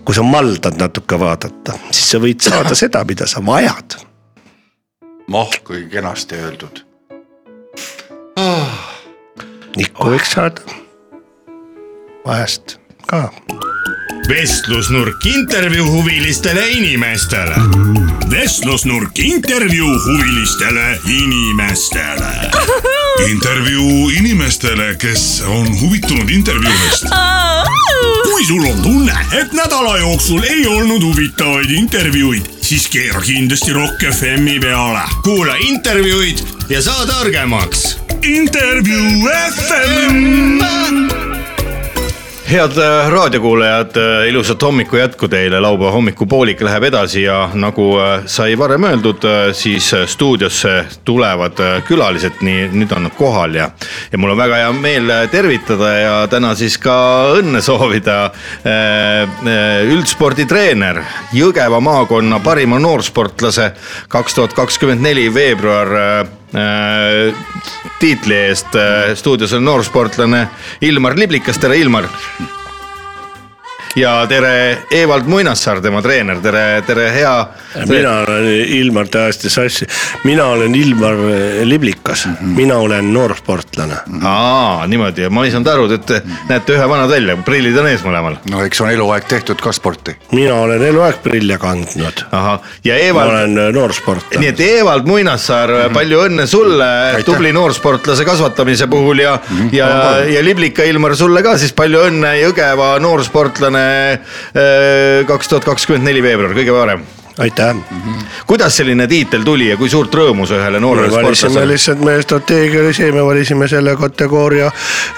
B: kui sa maldad natuke vaadata , siis sa võid saada seda , mida sa vajad .
C: moh , kui kenasti öeldud .
B: nikku võiks saada . vahest ka
D: vestlusnurk intervjuu huvilistele inimestele . vestlusnurk intervjuu huvilistele inimestele .
E: intervjuu inimestele , kes on huvitunud intervjuudest .
D: kui sul on tunne , et nädala jooksul ei olnud huvitavaid intervjuuid , siis keera kindlasti Rock FM-i peale .
A: kuula intervjuud ja saa targemaks
D: intervjuu FM .
A: head äh, raadiokuulajad , ilusat hommiku jätku teile , laupäeva hommikupoolik läheb edasi ja nagu äh, sai varem öeldud , siis äh, stuudiosse tulevad äh, külalised , nii nüüd on nad kohal ja , ja mul on väga hea meel äh, tervitada ja täna siis ka õnne soovida äh, äh, üldsporditreener , Jõgeva maakonna parima noorsportlase kaks tuhat kakskümmend neli veebruar äh, tiitli eest . stuudios on noorsportlane Ilmar Liblikas , tere Ilmar . ja tere Evald Muinassaar , tema treener , tere , tere hea .
B: mina olen Ilmar täiesti sassi , mina olen Ilmar eh, Liblikas , mina olen noorsportlane .
A: Mhm. aa , niimoodi , ma ei saanud aru , te näete ühe vanad välja , prillid on ees mõlemal .
C: no eks on eluaeg tehtud ka sporti .
B: mina olen eluaeg prille kandnud ,
A: ahah , ja
B: ma
A: Evald ,
B: olen eh, Mhm.
A: nii
B: noorsportlane .
A: et Evald Muinassaar , palju õnne sulle tubli noorsportlase
B: Mhm.
A: kasvatamise puhul ja , ja , ja Liblika Ilmar sulle ka siis palju õnne Jõgeva noorsportlane kahekümne kaks tuhat kakskümmend neli veebruar , kõige varem .
B: aitäh .
A: kuidas selline tiitel tuli ja kui suurt rõõmu see ühele noorele
B: me valisime
A: sportlasele ?
B: lihtsalt , meie strateegia oli see , me valisime selle kategooria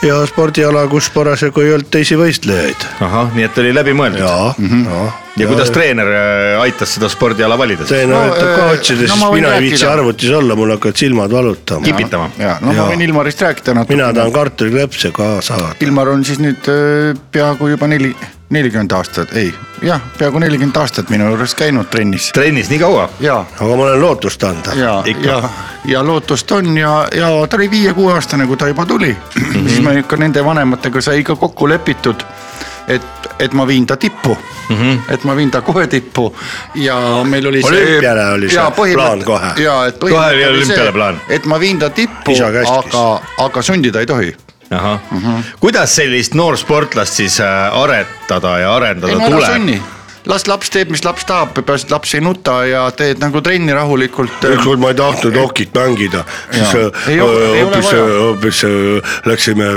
B: ja spordiala , kus parasjagu ei olnud teisi võistlejaid .
A: ahah , nii et oli läbimõeldud ja,
B: ja ,
A: ja
B: ja .
A: kuidas treener äh, aitas seda spordiala valida siis ?
B: treener
C: No, eh,
B: aitab coach ida ,
C: no
B: siis
C: ma võin
B: mina ei
C: rääkida.
B: viitsi arvutis olla , mul hakkavad silmad valutama .
A: kipitama .
C: ja no ma
B: Jaa.
C: võin Ilmarist rääkida natuke .
B: mina tahan kartuliklõpse ka saada .
C: Ilmar on siis nüüd öö, peaaegu juba neli , nelikümmend aastat , ei , jah , peaaegu nelikümmend aastat minu juures käinud trennis
A: trennis nii kaua ?
C: ja ,
B: aga ma olen lootust anda .
C: ja ,
A: Ikka.
C: ja , ja lootust on ja , ja ta oli viie-kuueaastane , kui ta juba tuli mm .
B: Mhm.
C: -hmm. siis me ikka nende vanematega sai ka kokku lepitud , et , et ma viin ta tippu mm ,
B: Mhm.
C: -hmm. et ma viin ta kohe tippu ja meil oli
B: Olümpiale oli see
C: jaa, põhimõte-
B: plaan kohe.
C: jaa , et
A: Kohe oli
C: põhimõte oli
A: olümpiale
C: see
A: plaan. ,
C: et ma viin ta tippu
B: Isa , käskis.
C: aga , aga sundida ei tohi
A: ahah mm ,
C: Mhm.
A: -hmm. kuidas sellist noorsportlast siis äh, aretada ja arendada
C: ei no ära
A: tuleb ?
C: sunni , las laps teeb , mis laps tahab , peaasi , et laps ei nuta ja teed nagu trenni rahulikult .
B: ükskord ma ei tahtnud okit mängida , siis
C: Jaa.
B: äh,
C: Ei ole- ei ole
B: hoopis ,
C: vaja.
B: hoopis äh, läksime ,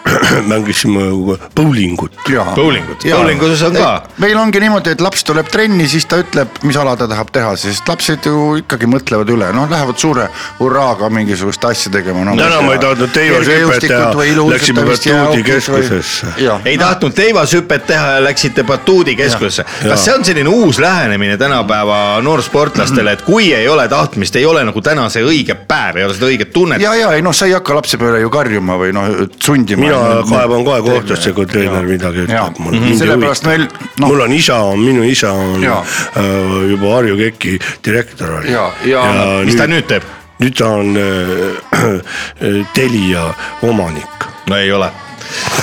B: mängisime äh, bowlingut .
A: Bowlingut. Bowlingus on ka.
C: meil ongi niimoodi , et laps tuleb trenni , siis ta ütleb , mis ala ta tahab teha , sest lapsed ju ikkagi mõtlevad üle , noh , lähevad suure hurraaga mingisugust asja tegema no, .
B: Täna ma ei tahtnud teivashüpet teha, läksime batuudi keskusesse.
C: jah ,
A: ei tahtnud teivashüpet teha ja läksite batuudi keskusesse .
B: Jaa.
A: kas see on selline uus lähenemine tänapäeva noorsportlastele , et kui ei ole tahtmist , ei ole nagu täna see õige päev , ei ole seda õiget tunnet ?
C: ja , ja ei noh , sa ei hakka lapse peale ju karjuma või noh , sundima . Noh,
B: mina kaevan kohe kohtusse , kui treener midagi
C: jaa Mhm.
B: ütleb mulle .
C: sellepärast meil noh,
B: No. mul on isa , minu isa on
C: Jaa.
B: äh, juba Harju KEK-i direktor oli .
C: Jaa, ja
A: mis ta nüüd teeb ?
B: nüüd ta on äh, Telia omanik .
A: no ei ole .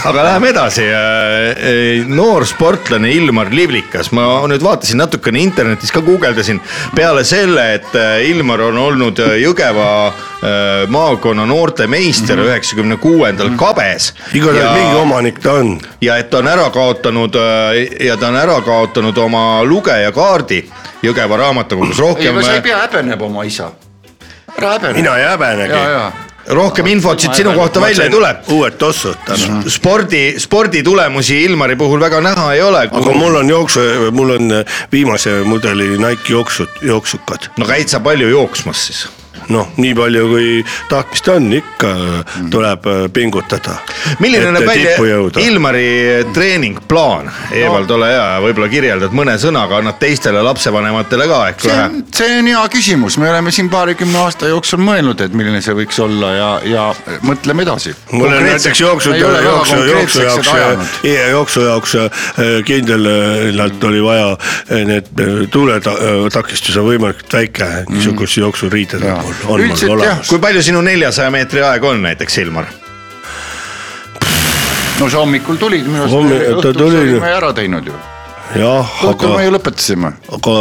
A: aga läheme edasi . Äh, noorsportlane Ilmar Livlikas , ma nüüd vaatasin natukene internetis ka guugeldasin peale selle , et äh, Ilmar on olnud äh, Jõgeva äh, maakonna noortemeister
C: Mhm.
A: üheksakümne kuuendal kabes .
B: igatahes ja... mingi omanik ta on .
A: ja et ta on ära kaotanud äh, ja ta on ära kaotanud oma lugejakaardi Jõgeva raamatukogus ,
C: ei ,
A: rohkem äh,
C: aga sa ei , pea häbenema oma isa . ära häbene .
B: äh, mina ei häbenegi
C: ja , ja .
A: rohkem infot siit sinu kohta välja ei tule .
B: uued tossud
C: Mhm.
B: täna .
A: spordi , sporditulemusi Ilmari puhul väga näha ei ole .
B: aga mul on jooksu , mul on eh, viimase mudeli Nike jooksud , jooksukad .
A: no käid sa palju jooksmas siis ?
B: noh , nii palju kui tahtmist on , ikka mm. tuleb äh, pingutada .
A: milline näeb välja
B: ilm ?
A: Ilmari eh, treeningplaan ? Evald , ole hea , võib-olla kirjeldad mõne sõnaga , annad teistele lapsevanematele ka äkki
C: see
A: vähe
C: on , see on hea küsimus , me oleme siin paarikümne aasta jooksul mõelnud , et milline see võiks olla ja , ja mõtleme edasi .
B: mul on näiteks jooksu , jooksu , jooksu jaoks , jooksu jaoks äh, kindlalt oli vaja äh, need äh, tuuletakistus on võimalikult väike , niisuguse jooksuriided
C: Jaa.
B: on mul , on
C: Üldiselt
B: mul
C: jah,
B: olemas .
A: kui palju sinu neljasaja meetri aeg on näiteks , Ilmar ?
C: no sa hommikul tulid minu
B: Hommi- ta
C: arust , õhtul
B: tuli ju.
C: olime ära teinud ju ,
B: jah ,
C: õhtul
B: aga ,
C: me ju lõpetasime
B: aga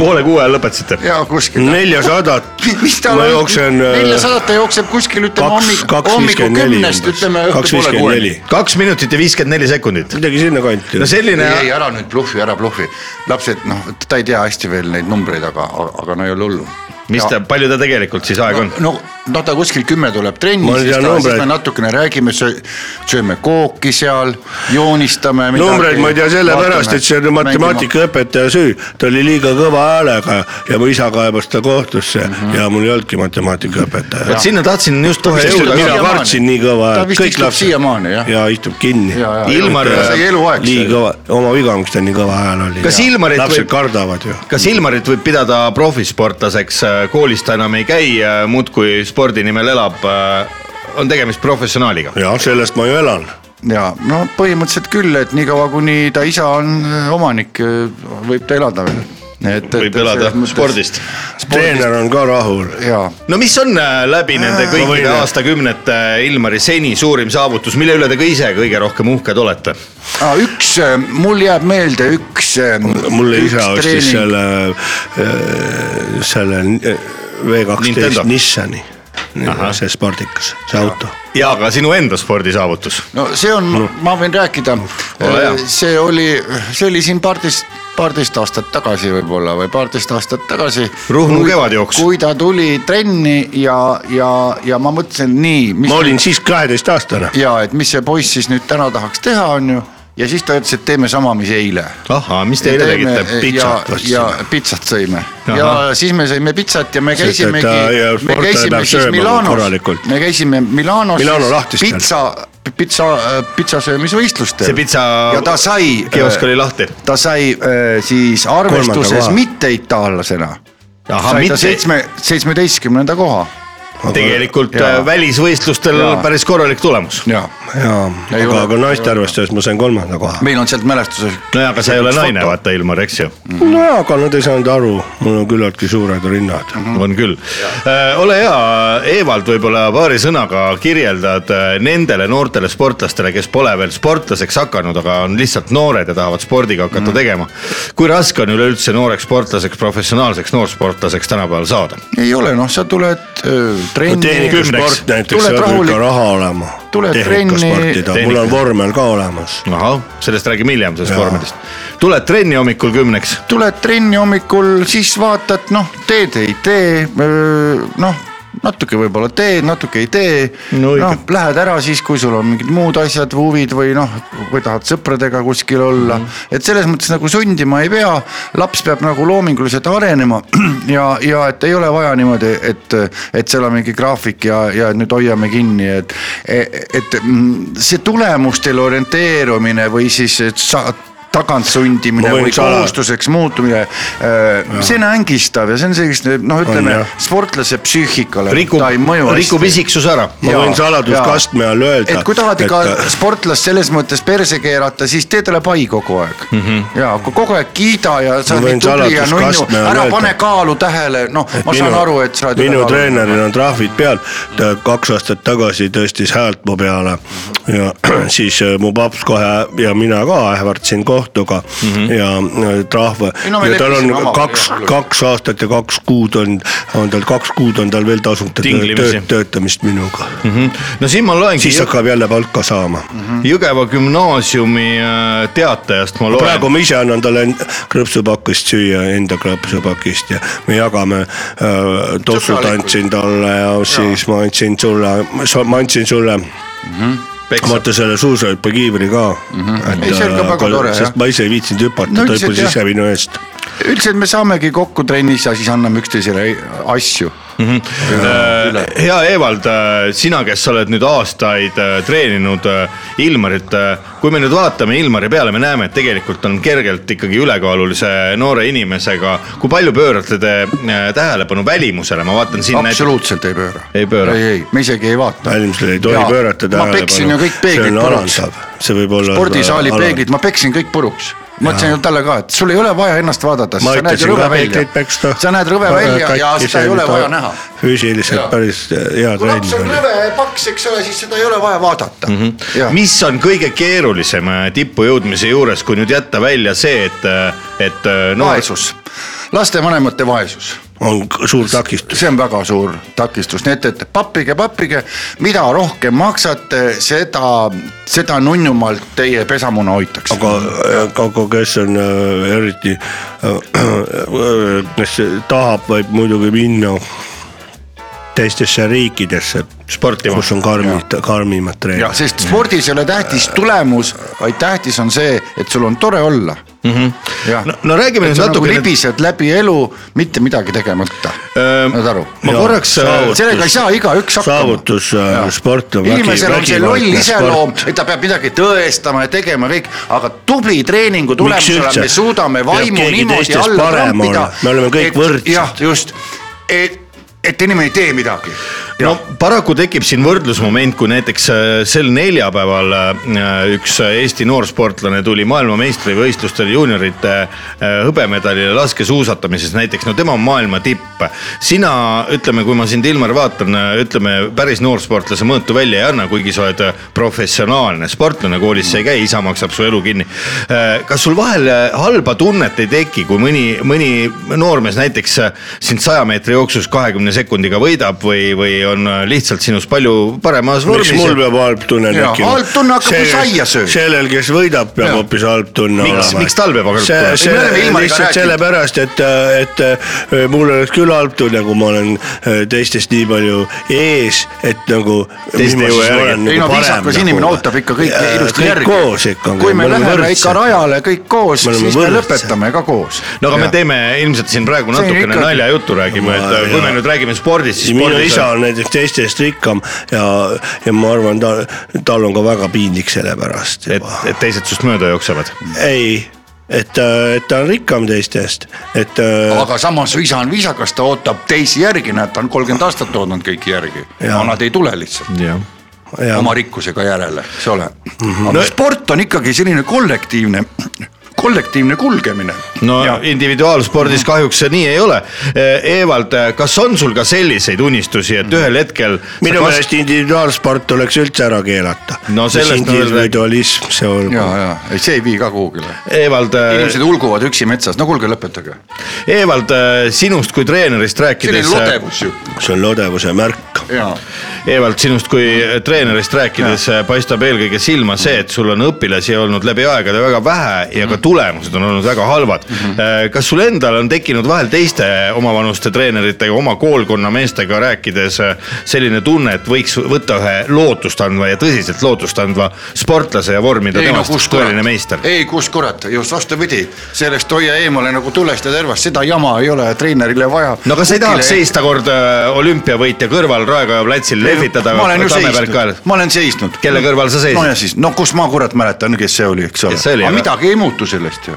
A: poole kuue ajal lõpetasite ?
C: ja kuskil .
B: neljasadat
C: mis tal
B: ma
C: on ,
B: jooksen äh,
C: neljasadat ta jookseb kuskil ütleme
B: kaks ,
C: hommik ,
B: kaks
C: hommikul
B: viiskümmend neli
C: kümnest
B: umbes ,
C: ütleme
B: kaks
C: õhtul poole
B: viiskümmend neli
C: kuueni .
A: kaks minutit ja viiskümmend neli sekundit .
B: midagi sinnakanti
A: no . selline
C: ei , ei ära nüüd bluffi , ära bluffi , lapsed noh , ta ei tea hästi veel neid numbreid , aga , aga no ei ole hullu .
A: mis ta , palju ta tegelikult siis aeg on ?
C: no , no ta kuskil kümme tuleb trenni ,
B: Ma ei
C: siis,
B: tea
C: ta- siis
B: numbreid.
C: me natukene räägime , sööme kooki seal , joonistame .
B: numbreid ma ei tea sellepärast , et see on matemaatikaõpetaja süü , ta oli liiga kõva häälega ja mu isa kaebas ta kohtusse mm -hmm. ja mul ei olnudki
A: vot
B: matemaatikaõpetaja .
A: sinna tahtsin just kohe
C: Mis
A: jõuda
C: tuleb
A: ka
B: mina
C: siiamaani.
B: kartsin nii kõva
C: Ta
B: häält ,
C: vist
B: kõik
C: istub
B: lapsed .
C: siiamaani, jah?
B: ja istub kinni .
A: Ilmar-
C: sai eluaeg
B: nii
C: see .
B: kõva , oma viga , miks ta nii kõva hääl oli .
A: Kas Ilmarit
B: lapsed
A: võib-
B: kardavad ju .
A: kas Ilmarit võib pidada profisportlaseks , koolis ta enam ei käi , muudkui spordi nimel elab , on tegemist professionaaliga ?
B: jah , sellest ma ju elan .
C: ja no põhimõtteliselt küll , et niikaua , kuni ta isa on äh, omanik , võib ta elada veel . et , et .
A: võib elada . spordist .
B: treener on ka rahul .
C: ja ,
A: no mis on äh, läbi nende kõikide aastakümnete äh, Ilmari seni suurim saavutus , mille üle te ka ise kõige rohkem uhked olete ?
C: Ah, üks , mul jääb meelde üks . äh,
B: mulle isa ostis . selle , selle äh, V kaksteist
A: Nintendo.
B: Nissani , see spordikas , see auto
A: ja ka sinu enda spordisaavutus .
C: no see on , ma võin rääkida
A: Ole hea. ,
C: see oli , see oli siin paarteist , paarteist aastat tagasi võib-olla või paarteist aastat tagasi .
A: Ruhnu kevadjooks.
C: kui ta tuli trenni ja , ja , ja ma mõtlesin nii , mis
B: ma olin siis kaheteistaastane .
C: ja et mis see poiss siis nüüd täna tahaks teha , on ju ja siis ta ütles , et teeme sama , mis eile .
A: ahhaa , mis te eile tegite , pitsat
C: ja,
A: ostsime
C: ja . pitsat sõime
A: Ahah.
C: Aha. ja siis me sõime pitsat ja me
B: Sest et,
C: käisimegi
B: äh, ja ,
C: me
B: sportlane
C: käisime
B: peab
C: siis
B: sööma
C: Milanos
B: korralikult. ,
C: me käisime Milanos
B: Milano lahtistel.
C: pitsa , pitsa , pitsasöömisvõistlustel .
A: see pitsa
C: ja ta sai . äh,
A: kiosk oli lahti .
C: ta sai äh, siis arvestuses
B: koha.
C: mitte itaallasena .
A: Ahah,
C: sai ta
A: mitte-
C: seitsme , seitsmeteistkümnenda koha .
A: tegelikult
C: Jaa.
A: ja. välisvõistlustel
C: Jaa.
A: päris korralik tulemus .
C: jaa ,
B: jaa ,
C: Ei
B: aga ,
C: ole.
B: aga naiste arvestuses ma sain kolmanda koha .
C: meil on sealt mälestuses .
A: nojah , aga sa ei ole naine , vaata Ilmar , eks ju ,
B: nojah , aga nad ei saanud aru , mul on küllaltki suured rinnad .
A: Mm. on küll . ole hea , Evald , võib-olla paari sõnaga kirjeldad äh, nendele noortele sportlastele , kes pole veel sportlaseks hakanud , aga on lihtsalt noored ja tahavad spordiga hakata mm. tegema . kui raske on üleüldse nooreks sportlaseks , professionaalseks noorsportlaseks tänapäeval saada ?
C: ei ole , noh , sa tuled äh, trenni
A: tehnika- ,
B: tehnikasport näiteks ,
C: Tuled
B: seal peab
C: rahulik-
B: ikka raha olema .
C: tuled trenni-
B: tehnikasportida , mul on
A: tehnika-
B: vormel ka olemas .
A: ahah , sellest räägime hiljem , sellest
B: Jaa.
A: vormelist . tuled trenni hommikul kümneks ,
C: tuled trenni hommikul , siis vaatad , noh , teed ei tee , noh , natuke võib-olla teed , natuke ei tee
A: No õige.
C: noh , lähed ära siis , kui sul on mingid muud asjad , huvid või noh , kui tahad sõpradega kuskil olla mm , -hmm. et selles mõttes nagu sundima ei pea . laps peab nagu loominguliselt arenema ja , ja et ei ole vaja niimoodi , et , et seal on mingi graafik ja , ja nüüd hoiame kinni , et . et mm, see tulemustele orienteerumine või siis et sa tagant sundimine
B: Ma võin
C: või
B: sala-
C: kohustuseks muutumine , see on ängistav ja see on sellist , noh , ütleme
B: jah.
C: sportlase psüühikale
A: rikub
C: ta ei mõju ,
A: rikub isiksuse ära .
B: Ma
C: Jaa,
B: võin saladuskastme
C: jaa.
B: all öelda,
C: et kui tahad ikka
B: et- äh,
C: sportlast selles mõttes perse keerata , siis tee talle pai kogu aeg mm . -hmm. ja kui kogu aeg kiida ja sa
B: Mhm. Ma
C: oled
B: võin
C: nii tubli ja nunnu
B: saladuskastme , all
C: ära
B: öelda.
C: pane kaalu tähele , noh , ma saan aru , et sa oled
B: minu treeneril on trahvid peal , ta kaks aastat tagasi tõstis häält mu peale ja siis äh, mu paps kohe ja mina ka ähvardasin kohtuga mm -hmm. ja äh, trahv
C: Mhm. Ei, no me
B: ja tal on
C: leppisime omavahel,
B: kaks
C: jah. ,
B: kaks aastat ja kaks kuud on , on tal kaks kuud on tal veel tasuta töö-
A: Tinglimisi.
B: töö- töötamist minuga
C: Mhm.
B: mm . -hmm.
A: no siin ma loengi
B: siis hakkab jälle palka saama mm . -hmm.
A: Jõgeva gümnaasiumi äh, teatajast ma loen .
B: praegu ma ise annan talle en- krõpsupakist süüa , enda krõpsupakist ja me jagame äh, , tossud
C: Sõbralikult.
B: andsin talle ja siis ma andsin sulle , ma andsin sulle vaata selle suusahüppekiivri ka mm . -hmm.
C: Mhm. Ei, see on ka väga tore, jah.
B: sest ma ise ei viitsinud hüpata
C: No
B: no, , ta
C: üldiselt
B: hüppas
C: jah.
B: ise minu eest .
C: üldiselt me saamegi kokku trennis ja siis anname üksteisele asju
A: Äh, hea Evald , sina , kes sa oled nüüd aastaid äh, treeninud äh, Ilmarit , kui me nüüd vaatame Ilmari peale , me näeme , et tegelikult on kergelt ikkagi ülekaalulise noore inimesega . kui palju pöörate te äh, tähelepanu välimusele , ma vaatan siin näiteks .
C: absoluutselt ei pööra .
A: Ei pööra.
C: ei , ei , ma isegi ei vaata .
B: välimusele ei tohi
C: Jaa,
B: ja, pöörata
C: ma peksin ju kõik
B: see
C: peeglid
B: on
C: puruks.
B: alandav , see võib olla .
C: spordisaali peeglid , ma peksin kõik puruks . ma ütlesin ju talle ka , et sul ei ole vaja ennast vaadata ,
B: ma
C: sa näed ju
B: aitasin
C: rõve
B: ka
C: välja
B: peegleid . peksta .
C: sa näed rõve välja ja seda ei ole vaja näha . Jaa.
B: füüsiliselt päris äh, hea
C: kui laps on
B: trenn .
C: rõve ja paks , eks ole , siis seda ei ole vaja vaadata mm . -hmm.
A: mis on kõige keerulisem äh, tippu jõudmise juures , kui nüüd jätta välja see , et , et äh, noor ,
C: vaesus , lastevanemate vaesus
B: on k- suur takistus .
C: see on väga suur takistus , nii et , et pappige , pappige , mida rohkem maksate , seda , seda nunnumalt teie pesamuna hoitakse .
B: aga , aga kes on äh, eriti äh, , kes tahab , võib muidugi minna teistesse riikidesse ,
A: sportima
B: kus on karmid , karmimad
C: jah ,
B: treenerid .
C: sest spordis ei ole tähtis tulemus , vaid tähtis on see , et sul on tore olla mm . -hmm.
A: no, no räägime nüüd
C: sa nagu
A: natukene .
C: libised läbi elu , mitte midagi tegemata , saad aru ?
A: ma
B: Jaa,
A: korraks ,
B: saavutus-
C: sellega ei saa igaüks hakkama .
B: saavutus, äh, sport on vägi-
C: inimesel on see loll
B: vägivaldne
C: iseloom , et ta peab midagi tõestama ja tegema kõik , aga tubli treeningu tulemusena
B: üldse?
C: me suudame
B: Peab
C: vaimu
B: keegi
C: niimoodi
B: teistest
C: alla
B: parem
C: trampida
B: olema. . Me oleme kõik võrdsed.
C: jah , just , et , et inimene ei tee midagi .
A: no paraku tekib siin võrdlusmoment , kui näiteks äh, sel neljapäeval äh, üks äh, Eesti noorsportlane tuli maailmameistrivõistlustel juuniorite äh, hõbemedalile laskesuusatamises näiteks , no tema on maailma tipp . sina , ütleme , kui ma sind , Ilmar , vaatan , ütleme päris noorsportlase mõõtu välja ei anna , kuigi sa oled äh, professionaalne sportlane , koolis sa ei käi , isa maksab su elu kinni . kas sul vahel äh, halba tunnet ei teki , kui mõni , mõni noormees näiteks äh, sind saja meetri jooksus kahekümne sekundiga võidab või , või on äh, lihtsalt sinust palju paremas
B: miks mul
A: vormis .
B: peab halb tunne
C: Jaa,
B: tekkima ?
C: halb tunne hakkab, kui saia sööd.
B: sellel , kes võidab , peab
C: Jaa.
B: hoopis halb tunne
A: Miks-
B: olema .
A: miks tal peab halb
B: see
A: tunne olema? ,
B: see
C: Ei, me oleme Ilmariga
B: lihtsalt
C: rääkinud.
B: sellepärast , et , et äh, mul oleks küll halb tunne , kui ma olen äh, teistest nii palju ees , et nagu .
A: Teiste jõu järgi.
B: Nagu
C: ei no nagu viisakas inimene ootab ikka kõike ilusti järgi .
B: koos ikka . nagu
C: kui me läheme ikka . rajale kõik koos ,
B: Me oleme
C: siis me
B: võrdsed.
C: lõpetame ka koos .
A: no aga me teeme ilmselt siin praegu
C: See on
A: natukene
C: ikkagi-
A: naljajuttu räägime , et äh, kui
B: jaa.
A: me nüüd räägime spordist , siis
B: minu
A: spordis
B: isa on näiteks teistest rikkam ja , ja ma arvan , ta , tal on ka väga piinlik selle pärast
A: et , et teised sinust mööda jooksevad .
B: ei , et , et ta on rikkam teistest , et .
A: Äh.
B: äh,
C: aga samas su isa on viisakas , ta ootab teisi järgi , näed , ta on kolmkümmend aastat oodanud kõiki järgi ,
B: Jaa.
C: aga nad ei tule lihtsalt
A: jah
B: ja,
C: oma rikkusega järele , eks ole .
A: Mhm.
C: aga sport on ikkagi selline kollektiivne , kollektiivne kulgemine .
A: no ja. individuaalspordis kahjuks see nii ei ole . Evald , kas on sul ka selliseid unistusi , et ühel hetkel .
B: minu meelest individuaalsport tuleks üldse ära keelata .
A: No sellest ma veel räägin.
B: individualism , see on
C: ja , ja , ei see ei vii ka kuhugile .
A: Evald ,
C: inimesed hulguvad üksi metsas , no kuulge , lõpetage .
A: Evald , sinust kui treenerist
C: selline
A: rääkides , eh,
C: lodevus ju .
B: see on lodevuse märk .
C: jaa ,
A: Evald , sinust kui treenerist rääkides paistab eelkõige silma see , et sul on õpilasi olnud läbi aegade väga vähe ja
C: Mhm.
A: ka tulemused on olnud väga halvad . kas sul endal on tekkinud vahel teiste omavanuste treeneritega , oma koolkonna meestega rääkides äh, selline tunne , et võiks võtta ühe lootustandva ja tõsiselt lootustandva sportlase ja vormida
C: ei no
A: temast
C: kus
A: tõeline
C: kurat
A: meister ,
C: ei kus kurat , just vastupidi , sellest hoia eemale nagu tulest ja tervast , seda jama ei ole treenerile vaja .
A: no kas sa ei tahaks seista kord äh, olümpiavõitja kõrval Raekoja platsil lehvitada ?
C: ma olen ju seisnud , ma olen seisnud .
A: Kelle kõrval sa seisid?
C: no ja siis , no kus ma kurat mäletan , kes see oli , eks ole
A: Kes see oli, ,
C: aga
A: aga-
C: midagi ei muutu sellest ju .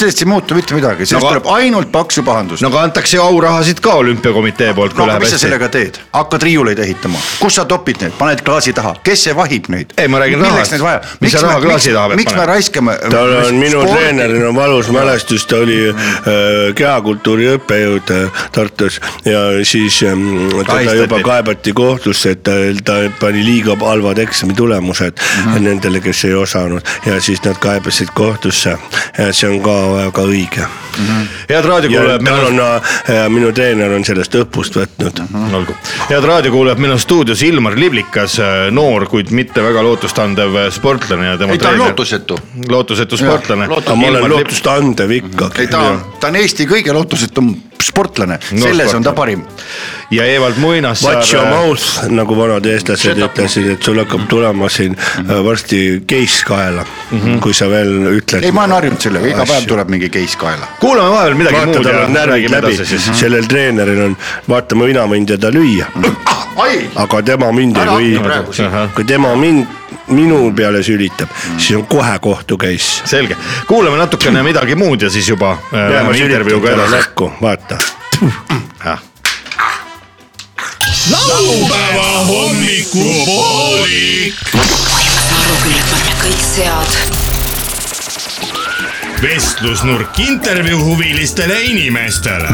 C: sellest ei muutu mitte midagi , sellest
A: aga-
C: tuleb ainult paksu pahandust .
A: no aga antakse ju aurahasid ka olümpiakomitee poolt , kui
C: no aga
A: läheb
C: mis sa
A: hästi .
C: sellega teed , hakkad riiuleid ehitama , kus sa topid neid , paned klaasi taha , kes see vahib neid ?
A: Ei, ma räägin rahast.
C: milleks neid vaja
A: Mis ? sa raha klaasi taha pead
C: miks me
A: panema?
C: raiskame ?
B: tal on minu treeneril on valus mälestus , ta oli äh, kehakultuuri õppejõud äh, Tartus ja siis ähm, teda
A: Kahistati.
B: juba kaebati kohtusse , et ta, ta pani liiga halvad eksamitulemused mm
A: Mhm.
B: -hmm. nendele , kes ei osanud ja siis nad kaebasid kohtusse . see on ka väga õige .
A: head raadiokuulajad , meil
B: tal
A: on
B: on , minu treener on sellest õppust võtnud
A: olgu , head raadiokuulajad , meil on stuudios Ilmar Liblikas , noor , kuid mitte väga lootustandev äh, sportlane ja tema
C: ei , ta on
A: treener .
C: lootusetu .
A: lootusetu sportlane .
B: aga ma olen lootustandev ikkagi
C: ei , ta on , ta on Eesti kõige lootusetum sportlane no, , selles on ta parim .
A: ja Evald äh,
B: Watch your
A: Muinassaar ,
B: mouth , nagu vanad eestlased
C: Shut up. Mhm.
B: ütlesid , et sul hakkab tulema siin äh, varsti keiss kaela , kui sa veel ütled .
C: Mhm. ei , ma olen harjunud sellega , iga päev tuleb mingi case kaela .
A: kuulame vahel midagi
B: vaata ,
A: muud
B: tal
A: ja
B: on närvid
A: räägime
B: läbi
A: edasi , siis .
B: sellel treeneril on , vaata , ma mina võin teda lüüa ,
C: ai ,
B: aga tema mind ei
C: Mhm. Ära hakka
B: või
C: praegu siin. .
B: kui tema mind , minu peale sülitab , siis on kohe kohtu case .
A: selge , kuulame natukene midagi muud ja siis juba äh,
B: ma
A: läheme
B: sülitan
A: intervjuuga
B: talle
A: edasi .
B: näkku , vaata .
E: laupäeva hommikupoolik .
F: kõik sead
D: vestlusnurk intervjuu huvilistele inimestele .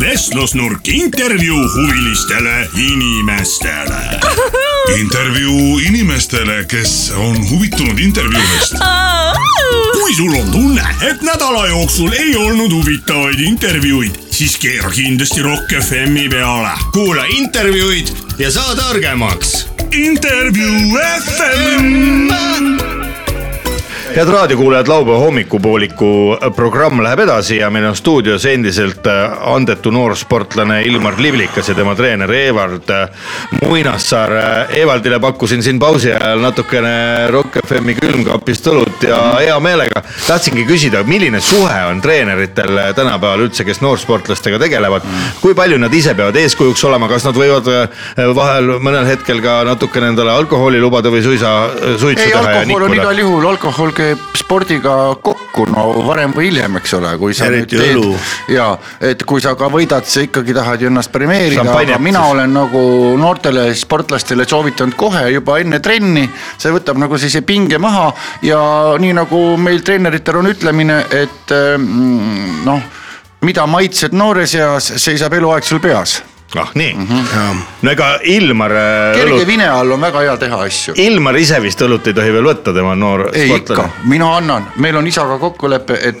E: vestlusnurk intervjuu huvilistele inimestele . intervjuu inimestele , kes on huvitunud intervjuudest . kui sul on tunne , et nädala jooksul ei olnud huvitavaid intervjuuid , siis keera kindlasti Rock FM-i peale .
D: kuula intervjuud ja saa targemaks .
E: intervjuu FM .
A: head raadiokuulajad , laupäeva hommikupooliku äh, programm läheb edasi ja meil on stuudios endiselt äh, andetu noorsportlane Ilmar Liblikas ja tema treener Evald äh, Muinassaar . Evaldile pakkusin siin pausi ajal natukene Rock FM-i külmkapist õlut ja hea meelega tahtsingi küsida , milline suhe on treeneritel äh, tänapäeval üldse , kes noorsportlastega tegelevad , kui palju nad ise peavad eeskujuks olema , kas nad võivad äh, vahel mõnel hetkel ka natukene endale alkoholi lubada või suisa äh, suitsu teha
C: ei ,
A: ja
C: alkohol on
A: nikkuda
C: igal ? juhul , alkohol käib spordiga kokku , no varem või hiljem , eks ole , kui sa nüüd
B: Eriti
C: teed
B: õlu.
C: ja et kui sa ka võidad , sa ikkagi tahad ju ennast premeerida , aga
A: Šampanjat
C: mina
A: siis.
C: olen nagu noortele sportlastele soovitanud kohe juba enne trenni , see võtab nagu sellise pinge maha ja nii nagu meil treeneritel on ütlemine , ehm, et ähm, noh , mida maitsed noores eas , seisab eluaeg sul peas
A: ah nii mm , -hmm. no ega Ilmar äh,
C: kerge
A: õlut ,
C: vine all on väga hea teha asju .
A: Ilmar ise vist õlut ei tohi veel võtta , tema on noor
C: ei ikka , mina annan , meil on isaga kokkulepe , et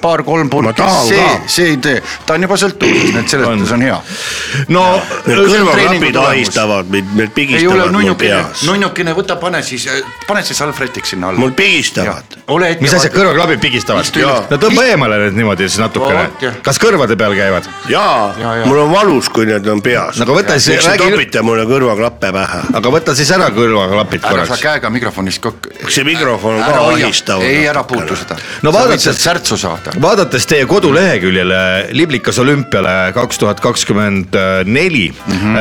B: tahan
C: paar-kolm purki , see , see ei tee , ta on juba sõltuvuses , nii et selles mõttes on hea .
A: no äh,
B: Need
C: Õhtul treeningu
B: kõrvaklapid
C: tulemus.
B: ahistavad mind , mind
C: ei ole
B: pigistavad mul
C: nunnukene
B: peas ,.
C: nunnukene , võta , pane siis , pane siis Alfrediks sinna alla
B: mul . pigistavad .
C: ole ette .
A: mis asja , kõrvaklapid pigistavad
C: Istu üles. ?
A: no tõmba eemale nüüd niimoodi siis
C: Vot, jah.
A: natukene . kas kõrvade peal käivad ?
B: jaa
C: Jaa,
B: ja, ,
C: jaa.
B: mul on valus , kui need on peas .
A: No
C: Nagu
A: aga võta siis-
B: miks te
A: räägi-
B: topite mulle kõrvaklappe pähe ?
A: aga võta siis ära kõrvaklapid
C: ära sa
A: korraks .
C: käega mikrofonist kokku .
B: see mikrofon on ka ahistav .
C: ei , ära puutu seda .
A: No vaadake-
C: sealt särtsu saada .
A: vaadates teie koduleheküljele Liblikas olümpiale kaks tuhat kakskümmend neli ,
C: Mhm.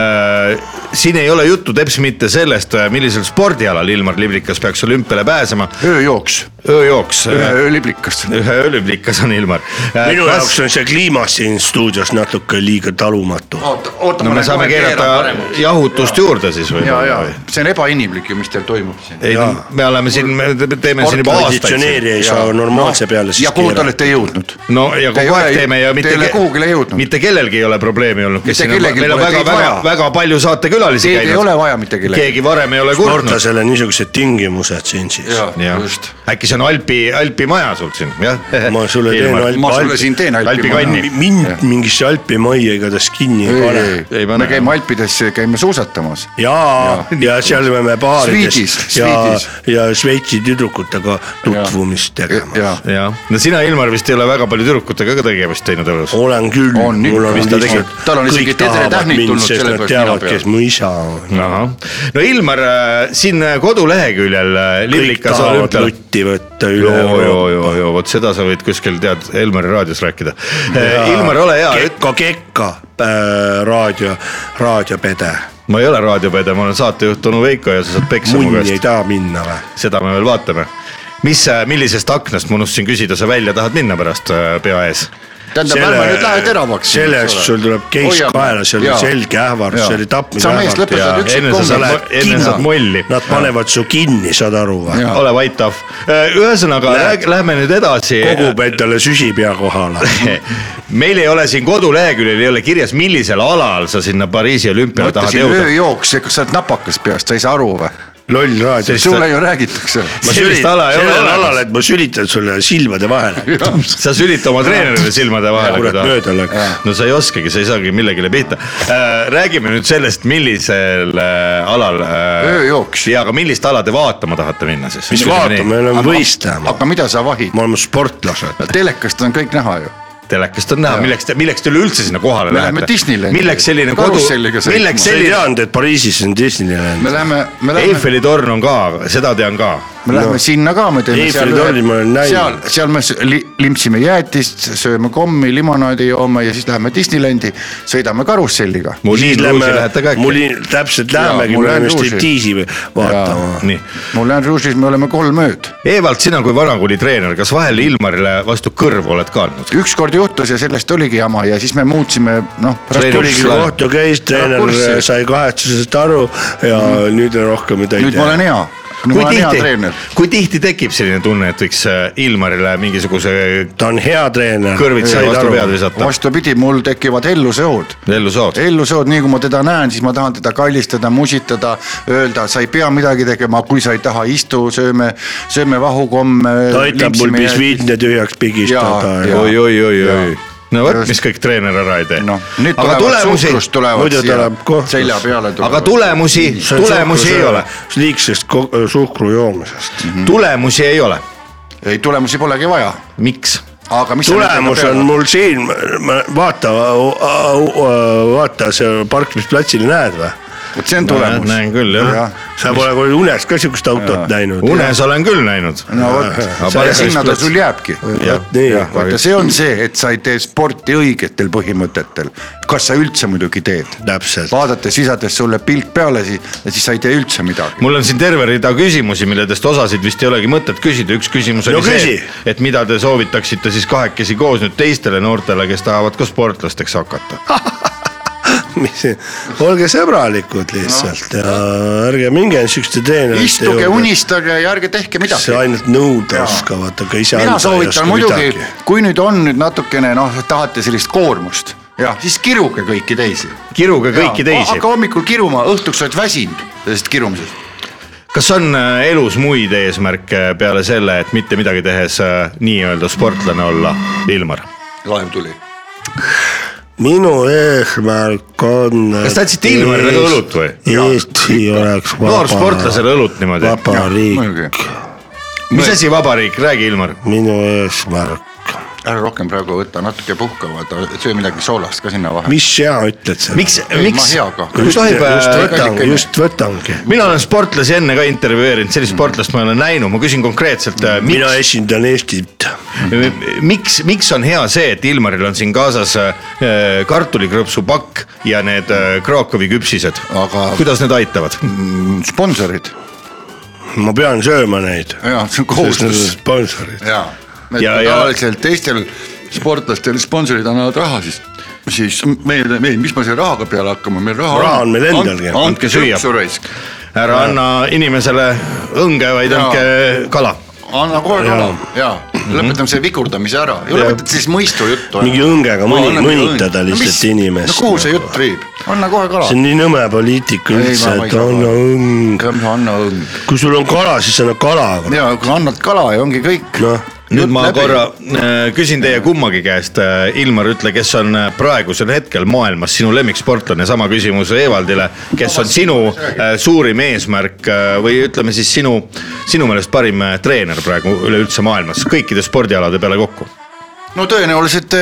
A: siin ei ole juttu teps mitte sellest , millisel spordialal Ilmar Liblikas peaks olümpiale pääsema ,
C: ööjooks ,
A: ööjooks . äh,
C: ööliblikas .
A: ühe ööliblikas on Ilmar . Äh,
B: minu jaoks on see kliima siin stuudios natuke liiga talumatu .
C: oota , oota .
A: no me saame keerata . jahutust juurde siis või ?
C: ja , ja see on ebainimlik ju , mis teil toimub siin .
A: ei no me oleme siin , me teeme siin juba aastaid .
B: konditsioneeri ei saa normaalse peale siis
C: ja kuhu te
B: keerata .
C: olete jõudnud ?
A: no ja
C: Te ei
A: kogu
C: ole
A: aeg
C: ju-
A: teeme ja mitte .
C: te ei ole kuhugile jõudnud.
A: mitte kellelgi ei ole probleemi olnud , kes
C: Mitte
A: siin on ,
C: kellelgi
A: meil on
C: pole
A: väga ,
C: teid
A: väga
C: vaja. ,
A: väga palju saatekülalisi
C: Teid
A: käinud .
C: ei ole vaja mitte kellelegi.
A: keegi varem ei ole kurtnud .
B: sportlasele niisugused tingimused siin siis .
A: jah , äkki see on Alpi , Alpi maja sul siin , jah ?
B: ma sulle teen Alpi-
C: ma sulle siin teen Alpi
A: Alpi
C: maja.
A: kanni .
B: mind mingisse Alpi majja igatahes kinni ei pane .
A: Ei pane.
C: me käime Alpides , käime suusatamas .
B: ja , ja seal me oleme baarides
C: Sviidis,
B: ja
C: sviidis. ,
B: ja Šveitsi tüdrukutega tutvumist tegemas .
C: ja ,
A: jah , no sina , Ilmar , vist ei ole väga palju tüdrukutega ka tegemist teinud elus .
B: olen küll ,
C: On ikka,
B: mul on
C: mis ta tegi?
B: lihtsalt ,
C: Tal on isegi
B: kõik
C: Tedre
B: tahavad
C: Tähnid
B: mind ,
C: tulnud
B: sest
C: selle
B: nad
C: pärast
B: teavad ,
C: nina peale.
B: kes mu isa on .
A: ahah , no Ilmar , siin äh, koduleheküljel äh,
B: kõik
A: Lillikas
B: tahavad
A: olümpial .
B: lutti võtta
A: joo ,
B: üle
A: joo , joo , joo , vot seda sa võid kuskil tead Elmari raadios rääkida . Ilmar , ole hea ,
B: Kekka , Kekka äh, raadio , raadiopede .
A: ma ei ole raadiopede , ma olen saatejuht Anu Veiko ja sa saad peksa mu
B: munni ei
A: käest ,
B: taha minna või ?
A: seda me veel vaatame mis , millisest aknast ma unustasin küsida , sa välja tahad minna pärast äh, pea ees ?
C: tähendab , ärme nüüd lähe teravaks .
B: selle eest sul tuleb keiss
C: Hoiame.
B: kaela , see oli
C: Jaa.
B: selge ähvardus ,
C: Jaa.
B: see oli tapmine .
C: Sa mees lõpetad
A: Jaa,
C: üksik
A: enne sa
C: kombel.
A: lähed- enne saad molli.
B: Nad panevad su kinni , saad aru või
C: Jaa. ?
A: ole vait ahv , ühesõnaga lähe- lähme nüüd edasi .
B: kogub endale süsi pea kohale .
A: meil ei ole siin koduleheküljel ei ole kirjas , millisel alal sa sinna Pariisi olümpiale tahad
C: mõtlesin
A: jõuda .
C: ööjooks , kas sa oled napakas peast , sa ei saa aru või ?
B: loll raadio .
A: Sest-
C: sulle ju räägitakse .
A: Ma sellist ala ei ole
B: sellel
A: olemas.
B: alal , et ma sülitan sulle silmade vahele .
A: sa sülita oma treenerile silmade vahele .
B: kurat, mööda läks. .
A: no sa ei oskagi , sa ei saagi millegile pihta . räägime nüüd sellest , millisel äh, alal .
C: Ööjooks.
A: ja , aga millist ala te vaatama tahate minna siis ?
B: mis vaatame , me oleme võistlema ,
C: aga mida sa vahid ?
B: me oleme sportlased .
C: telekast on kõik näha ju .
A: telekast on näha , milleks te , milleks te üleüldse sinna kohale
C: Me lähme
A: lähete ?
C: Disneylandi.
A: milleks selline kodu
C: Karusselliga , sõitma.
A: milleks
B: sa ei
A: selline ,
B: teadnud , et Pariisis on Disneyland
C: me ? läheme , me läheme ,
A: Eiffeli torn on ka , seda tean ka
C: me läheme sinna ka , me teeme
B: Eiffeli torni ma olen näinud.
C: seal , seal me s- li, limpsime jäätist , sööme kommi , limonaadi joome ja siis läheme Disneylandi , sõidame karusselliga .
A: mu
B: siis
A: liin
B: lähme
A: Luusi lähete ka ,
B: mul
A: äkki ?
B: täpselt
C: Jaa,
B: lähemegi ,
C: mul
B: me
C: on
B: läheme
C: Luusi.
B: striptiisi
C: Ah.
B: vaatama .
A: nii ,
C: Moulin Rouge'is me oleme kolm ööd .
A: Evald , sina kui vanakooli treener , kas vahel Ilmarile vastu kõrvu oled ka andnud ?
C: ükskord juhtus ja sellest oligi jama ja siis me muutsime , noh .
B: tuligi kohtu käis , treener
C: kurssi.
B: sai kahetsusest aru ja nüüd rohkem ei
C: nüüd ma olen
B: tea .
C: hea , nüüd ma olen hea treener .
A: kui tihti tekib selline tunne , et võiks äh, Ilmarile mingisuguse
B: ta on hea treener .
A: kõrvitsa vastu pead visata ?
C: vastupidi , mul tekivad elluseod
A: ellu saad .
C: elluseod , nii kui ma teda näen , siis ma tahan teda kallistada , musitada , öelda , sa ei pea midagi tegema , kui sa ei taha , istu , sööme , sööme vahukomme .
B: ta aitab mul bisviitne tühjaks pigistada
C: Jaa,
B: ja
C: jaa.
A: oi , oi , oi , oi
C: Jaa. .
A: no vot ,
C: Just.
A: mis kõik treener ära ei tee .
C: noh , nüüd
A: aga
C: tulevad
A: tulemusi ,
C: suhkrust tulevad
B: muidu
C: siia
B: tuleb kohtus.
C: selja peale
A: aga tulemusi ,
B: See on
A: tulemusi ei
B: suhkrusöö-
A: ole ,
B: liigsest ko- suhkru joomisest .
A: tulemusi ei ole .
C: ei , tulemusi polegi vaja ,
A: miks ?
C: aga mis .
B: tulemus on . mul siin , vaata , vaata see parkimisplatsil näed või ?
C: vot see on tulemus .
A: näen küll, jah.
B: sa pole kui unes ka siukest autot näinud .
A: unes olen küll näinud .
C: no vot , sinna ta sul jääbki .
B: vot nii
A: Jah.
C: vaata , see on see , et sa ei tee sporti õigetel põhimõtetel , kas sa üldse muidugi teed
B: täpselt .
C: vaadates sisades sulle pilt peale , siis , siis sa ei tee üldse midagi .
A: mul on siin terve rida küsimusi , milledest osasid vist ei olegi mõtet küsida , üks küsimus oli
B: No küsi.
A: see , et mida te soovitaksite siis kahekesi koos nüüd teistele noortele , kes tahavad ka sportlasteks hakata .
B: mis , olge sõbralikud lihtsalt ja ärge minge siukeste treenerite
C: istuge , unistage ja ärge tehke midagi
B: see . ainult nõuda oskavad , aga ise
C: mina soovitan muidugi , kui nüüd on nüüd natukene noh , tahate sellist koormust , jah , siis kiruge kõiki teisi .
A: kiruge kõiki teisi .
C: hakka hommikul kiruma , õhtuks oled väsinud sellest kirumisest .
A: kas on äh, elus muid eesmärke peale selle , et mitte midagi tehes äh, nii-öelda sportlane olla , Ilmar ?
C: laev tuli .
B: minu eesmärk on .
A: Kas te tahtsite Ilmarile ka õlut või?
B: Eesti oleks vaba .
A: noorsportlasele õlut niimoodi .
B: vaba riik ,
A: mis asi vabariik , räägi , Ilmar .
B: minu eesmärk .
C: ära rohkem praegu võta , natuke puhka , vaata , söö midagi soolast ka sinna vahele .
B: mis sina ütled seda ?
A: miks ,
C: ma
A: miks ,
C: hea kahtlen .
A: kas tohib
B: just
A: äh,
B: võtangi ,
C: kallikene.
B: just võtangi .
A: mina olen sportlasi enne ka intervjueerinud , sellist sportlast ma ei ole näinud , ma küsin konkreetselt ,
B: mina
A: miks ,
B: esindan Eestit .
A: miks , miks on hea see , et Ilmaril on siin kaasas äh, kartulikrõpsupakk ja need äh, Krakowi küpsised
C: Aga- .
A: kuidas need aitavad ?
C: sponsorid ,
B: ma pean sööma neid .
C: jah , see on kohustus .
B: sponsorid .
C: ja , et
A: Ja-
C: ja,
A: ja-
C: tavaliselt teistel sportlastel sponsorid annavad raha siis , siis meil , meil , mis ma selle rahaga peale hakkama , meil raha .
B: Raha on meil endalgi.
A: Andke
C: andke
A: süüa.
C: süüa . raisk ,
A: ära anna inimesele õnge , vaid
C: Jaa.
A: andke kala
C: anna kohe raha ja lõpetame selle vikurdamise ära , ei ole
B: Jah.
C: mõtet siis mõistu juttu .
B: Mingi õngega mõni- mõnitada lihtsalt inimest.
C: no kuhu see jutt viib , anna kohe kala
B: see on . nii nõme poliitika
C: Ei,
B: üldse
C: ma- , ma ei
B: et
C: saa
B: anna
C: aru.
B: õng .
C: anna õng .
B: kui sul on kala , siis anna kala .
C: ja kui annad kala ja ongi kõik .
B: noh ,
A: nüüd ma läbi. korra äh, küsin teie kummagi käest , Ilmar , ütle , kes on äh, praegusel hetkel maailmas sinu lemmiksportlane , sama küsimus Evaldile , kes on sinu äh, suurim eesmärk äh, või ütleme siis sinu , sinu meelest parim äh, treener praegu üleüldse maailmas , kõikide spordialade peale kokku .
C: no tõenäoliselt ,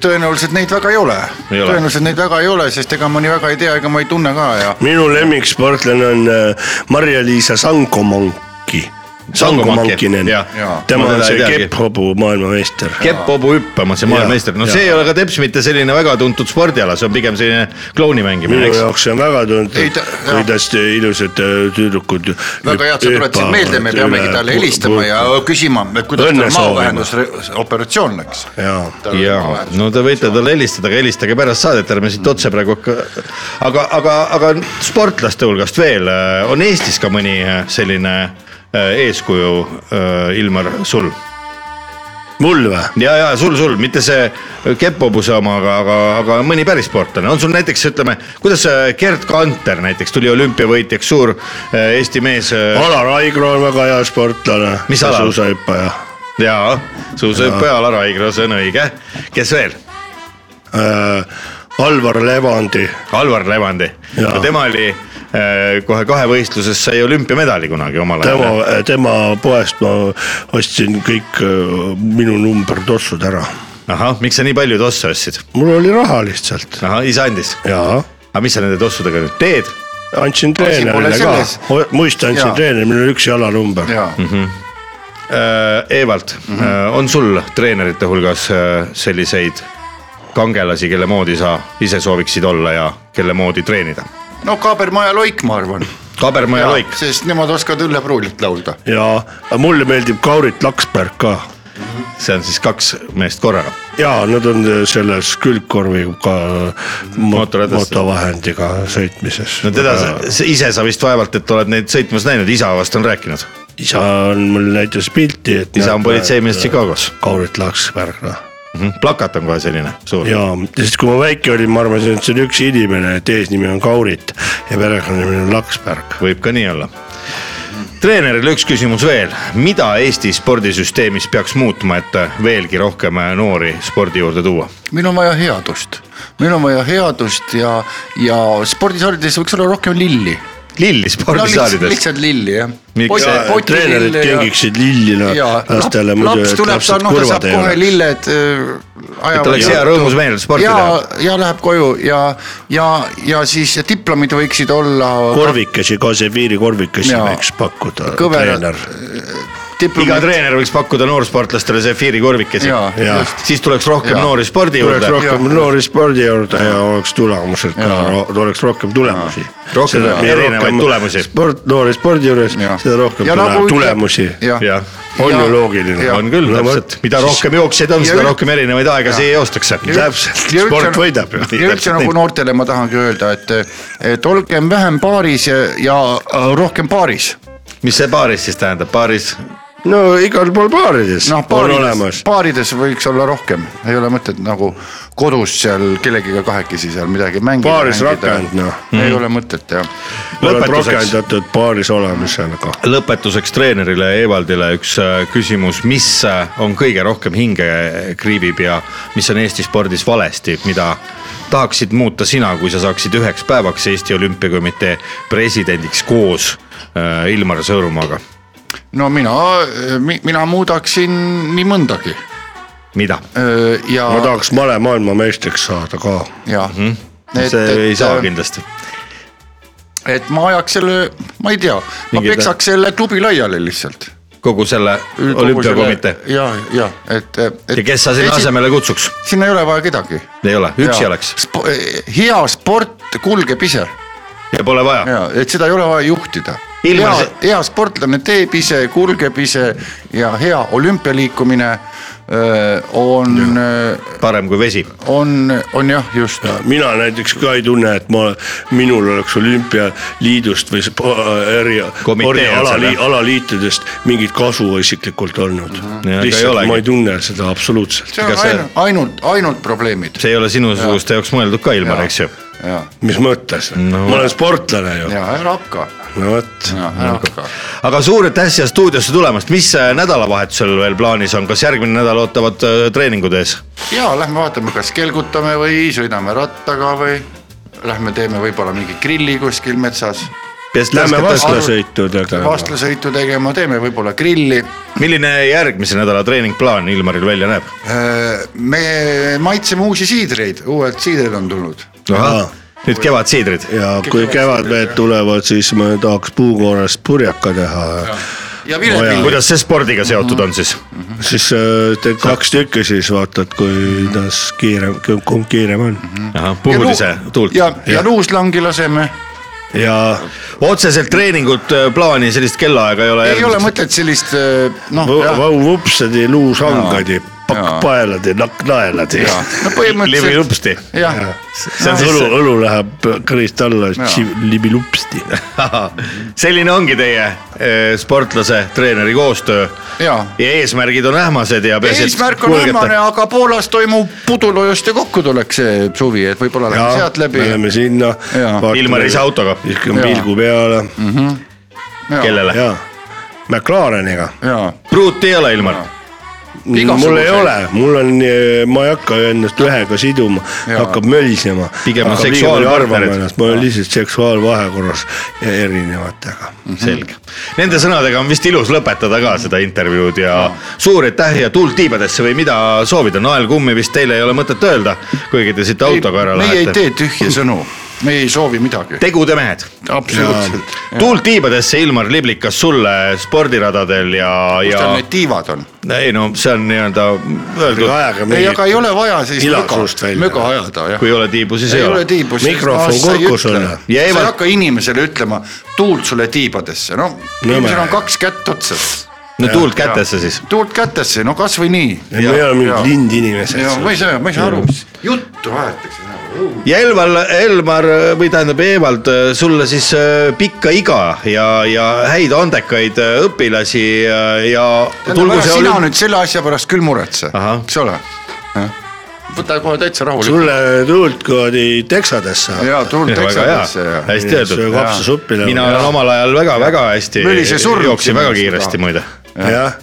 C: tõenäoliselt neid väga ei ole,
A: Ei ole.
C: tõenäoliselt neid väga ei ole , sest ega ma nii väga ei tea , ega ma ei tunne ka ja
B: minu lemmiksportlane on äh, Marja-Liisa Sankomanki . Sankomankinen
A: jah. ,
B: tema
A: Ma
B: on
A: teda ei
B: see
A: teagi.
B: kepphobu maailmameister .
A: kepphobu hüppama , see maailmameister , no
B: Jaa.
A: see ei ole ka teps mitte selline väga tuntud spordiala , see on pigem selline klouni mängimine ,
B: minu
A: eks .
B: jaoks see on väga
C: Ei,
B: tuntud
C: ta- , jah.
B: kuidas te- ilusad äh, tüdrukud .
C: väga hea , et sa tuletasid meelde , me peamegi talle helistama ja . küsima , et kuidas
B: Õnne
C: tal
B: soovima.
C: maovähendusoperatsioon läks .
B: jaa ,
A: jaa , no te võite talle helistada , aga helistage pärast saadet , ärme siit otse praegu hakka . aga , aga , aga sportlaste hulgast veel , on Eestis ka mõni äh, selline äh, eeskuju , Ilmar , sul ?
B: mul või ?
A: ja , ja sul , sul , mitte see Kepobuse oma , aga , aga , aga mõni päris sportlane , on sul näiteks ütleme , kuidas äh, Gerd Kanter näiteks tuli olümpiavõitjaks , suur äh, Eesti mees äh,
B: Alar Aigro on väga hea sportlane .
A: Mis Alar?
B: suusahüppaja .
A: ja suusahüppaja Alar Aigro , see on õige , kes veel ?
B: Äh, Alvar Levandi ,
A: Alvar Levandi ,
B: Jaa.
A: tema oli äh, kohe kahevõistluses sai olümpiamedali kunagi omal
B: tema
A: ajal .,
B: tema poest ma ostsin kõik äh, minu numbertossud ära .
A: ahah , miks sa nii palju tosse ostsid ?
B: mul oli raha lihtsalt
A: ahah , isa andis .
B: jaa
A: aga mis sa nende tossudega nüüd teed ?
B: andsin treenerile
C: pole
B: ka
C: selles. ,
B: muista andsin
C: Jaa.
B: treenerile , mul oli üks jalanumber .
C: ja
A: Mhm. Evald mm , -hmm. on sul treenerite hulgas äh, selliseid kangelasi , kelle moodi sa ise sooviksid olla ja kelle moodi treenida ?
C: no Kaabermaa ja Loik , ma arvan ,
A: Kaberma ja Loik ,
C: sest nemad oskavad Õlle Pruulit laulda .
B: ja mulle meeldib Kaurit Laksberg ka
A: see on siis kaks meest korraga .
B: ja nad on selles külgkorviga
A: Mootorratas-
B: motovahendiga sõitmises
A: no teda sa, sa- ise sa vist vaevalt , et oled neid sõitmas näinud , isa vast on rääkinud .
B: isa on mul näitas pilti , et .
A: isa on politseimees . Chicagos
B: Kaurit Laksberg noh ,
A: mm , -hmm. plakat on kohe selline suur .
B: ja sest kui ma väike olin , ma arvasin , et see on üks inimene , et eesnimi on Kaurit ja perekonnanimi on Laksberg .
A: võib ka nii olla . treenerile üks küsimus veel , mida Eesti spordisüsteemis peaks muutma , et veelgi rohkem noori spordi juurde tuua ?
C: meil on vaja headust , meil on vaja headust ja , ja spordisaalides võiks olla rohkem lilli .
A: lilli
C: no lihtsalt,
A: spordisaalides .
C: lihtsalt lilli jah .
A: Miks? Ja,
B: treenerid kingiksid lilli no, lastele muidu ,
C: laps
B: et
C: tuleb , ta
B: lapsed
C: noh , ta
B: kurvad
C: saab
B: ei
C: kohe äh,
B: ole .
C: lilled .
A: et oleks hea rõõmus meel sporti
C: ja
A: teha .,
C: ja läheb koju ja , ja , ja siis diplomid võiksid olla .
B: korvikesi , Koseviiri korvikesi
C: Jaa.
B: võiks pakkuda
C: Kõverad-
B: treener .
A: iga treener võiks pakkuda noorsportlastele sefiiri korvikesi
C: Jaa, .
B: Jaa.
C: just.
A: siis tuleks rohkem
C: Jaa.
A: noori spordi
B: tuleks
A: juurde .
B: rohkem noori spordi juurde ja oleks tulemused ka
C: Jaa. ,
B: oleks rohkem tulemusi .
A: Rohkem erinevaid tulemusi.
B: sport , noori spordi juures , seda rohkem tule, nagu tulemusi .
A: Jah.
B: On ju loogiline.
A: on küll , täpselt , mida rohkem jooksjaid on ,
C: Ja
A: seda
C: üld-
A: rohkem erinevaid aegasi joostakse .
B: Täpselt. Sport võidab ju.
C: nagu- ja üldse
B: Täpselt
C: nagu
B: nii.
C: noortele ma tahangi öelda , et , et olgem vähem paaris ja, ja äh, rohkem paaris .
A: mis see paaris siis tähendab , paaris
B: no igal pool baarides
C: noh ,
B: on
C: baarides
B: olemas ,
C: baarides võiks olla rohkem , ei ole mõtet nagu kodus seal kellegiga kahekesi seal midagi mängida .
B: Baaris rakend, noh. .
C: ei ole mõtet jah .
B: oled
A: Lõpetuseks.
B: rakendatud baaris nagu. olemisega .
A: lõpetuseks treenerile Evaldile üks äh, küsimus , mis äh, on kõige rohkem hinge kriibib ja mis on Eesti spordis valesti , mida tahaksid muuta sina , kui sa saaksid üheks päevaks Eesti Olümpiakomitee presidendiks koos äh, Ilmar Sõõrumaaga ,
C: no mina , mina muudaksin nii mõndagi
A: mida ?
C: Öö, ja ,
A: Ah.
B: ma tahaks male maailmameistriks saada ka .
C: ja mm . -hmm.
A: Mhm. see ei saa .
C: äh,
A: kindlasti ,
C: eh, et ma ajaks selle , ma ei tea , ma
A: Mingi ta-
C: peksaks selle klubi laiali lihtsalt .
A: kogu selle olümpiakomitee
C: ja , ja et, eh, et .
A: ja kes sa sinna ? asemele kutsuks ,
C: sinna ei ole vaja kedagi .
A: ei ole , üksi oleks
C: Sp . hea sport kulgeb ise
A: ja pole vaja ,
C: ja , et seda ei ole vaja juhtida .
A: Ilma
C: hea
A: se- ,
C: hea sportlane teeb ise , kulgeb ise ja hea olümpialiikumine öö, on ,
A: parem kui vesi .
C: on , on jah , just
B: mina näiteks ka ei tunne , et ma , minul oleks olümpialiidust või sp- äh, eri
A: Komitee
B: spordi
A: on
B: alali- ,
A: selle. Mhm.
B: alaliitudest mingit kasu isiklikult olnud mm .
A: Ja, aga
B: -hmm.
A: ei
B: lihtsalt
A: olegi.
B: ma ei tunne seda absoluutselt .
C: see on
A: Ega see-
C: ainult , ainult , ainult probleemid .
A: see ei ole sinusuguste jaoks mõeldud ka , Ilmar , eks ju .
C: ja ,
B: mis mõttes
A: No.
B: no. , ma olen sportlane ju ,
C: ja ära hakka ,
B: no vot .
C: ära hakka .
A: aga suur aitäh siia stuudiosse tulemast , mis äh, nädalavahetusel veel plaanis on , kas järgmine nädal ootavad äh, treeningud ees ?
C: ja lähme vaatame , kas kelgutame või sõidame rattaga või lähme teeme võib-olla mingi grilli kuskil metsas .
B: Lähme
C: vastu-
B: vastlasõitudega .
C: vastlasõitu tegema , teeme võib-olla grilli .
A: milline järgmise nädala treeningplaan Ilmaril välja näeb ?
C: Äh, me maitseme uusi siidreid , uued siidrid on tulnud .
B: Ahah.
A: nüüd kevadsiidrid ,
B: ja kui kevadmehed tulevad , siis ma tahaks puukoorest purjeka teha .
C: ja vilepill ,
A: kuidas see spordiga seotud on siis ?
B: siis äh, teed kaks tükki , siis vaatad , kuidas kiirem , kumb kiirem on .
C: Mhm.
A: puhud ise tuult
C: ja , ja nuuslangi laseme .
B: ja
A: otseselt treeningut äh, plaani sellist kellaaega ei ole .
C: ei ole mõtet sellist äh, noh ,
B: võ-
C: jah ,
B: vau-vupsadi , luushangadi ,
C: Jaa.
B: pakkpaeladi , nakknaeladi .
C: jah , no põhimõtteliselt
A: liblilupsti .
C: jah ,
B: see on õlu , õlu läheb kõrist alla , libilupsti .
A: selline ongi teie äh, sportlase , treeneri koostöö .
C: Jaa.
A: ja eesmärgid on ähmased ja .
C: eesmärk on ähmane , aga Poolas toimub pudulojuste kokkutulek see suvi , et võib-olla läheme sealt läbi .
B: Läheme sinna
C: Jaa. .
A: Ilmar ise autoga.
B: viskame
C: Jaa.
B: pilgu peale
C: Mm.
A: kellele ?
B: ja McLareniga
C: jaa ,
A: pruuti ei ole , Ilmar .
C: Igasuguseid.
B: mul ei ole , mul on , ma ei hakka ennast ühega siduma ,
C: Jaa.
B: hakkab mölisema .
A: Pigem on seksuaalpartnerid.
B: ma olen lihtsalt seksuaalvahekorras erinevatega .
A: selge , nende sõnadega on vist ilus lõpetada ka seda intervjuud ja suur aitäh ja tuult tiibadesse või mida soovida , naelkummi vist teile ei ole mõtet öelda , kuigi te siit autoga ära
C: meie ei
A: lähete .
C: tee tühje sõnu , me ei soovi midagi .
A: tegude mehed ,
C: absoluutselt .
A: tuult tiibadesse , Ilmar Liblikas sulle spordiradadel ja ,
C: kus
A: ja
C: tal need tiivad on ?
A: ei no see on nii-öelda öeldud ,
B: ajage
C: ei , aga ei ole vaja siis
B: Ila
C: möga
B: suust välja. ,
C: möga ajada jah .
A: kui ei ole tiibu , siis
C: ei
A: ei
C: ole
A: ole .
C: tiibu .
B: Mikrofon kurku sulle.
C: sa ei
A: Jäävad-
C: hakka inimesele ütlema , tuult sulle tiibadesse , no inimesel on kaks kätt otsas .
A: no tuult kätesse siis .
C: tuult kätesse , no kasvõi nii .
B: me ei ole mingid lindinimesed .
C: ma ei saa , ma ei saa aru , mis juttu aetakse nagu .
A: ja Elvar , Elmar äh, või tähendab Evald , sulle siis äh, pikka iga ja , ja häid andekaid äh, õpilasi äh, ja .
C: ära sina olü... nüüd selle asja pärast küll muretse ,
A: Ahah.
C: eks ole . võta kohe täitsa rahulikult .
B: sulle tuult kuradi teksadesse .
C: ja tuult
A: väga
C: eksadesse
A: hea ,
C: ja .
A: hästi öeldud .
B: kapsasuppi
A: mina . olen omal ajal väga-väga hästi
C: Mölise surnud .
A: jooksin väga
C: inimesed
A: kiiresti
C: ka.
A: muide .
B: jah .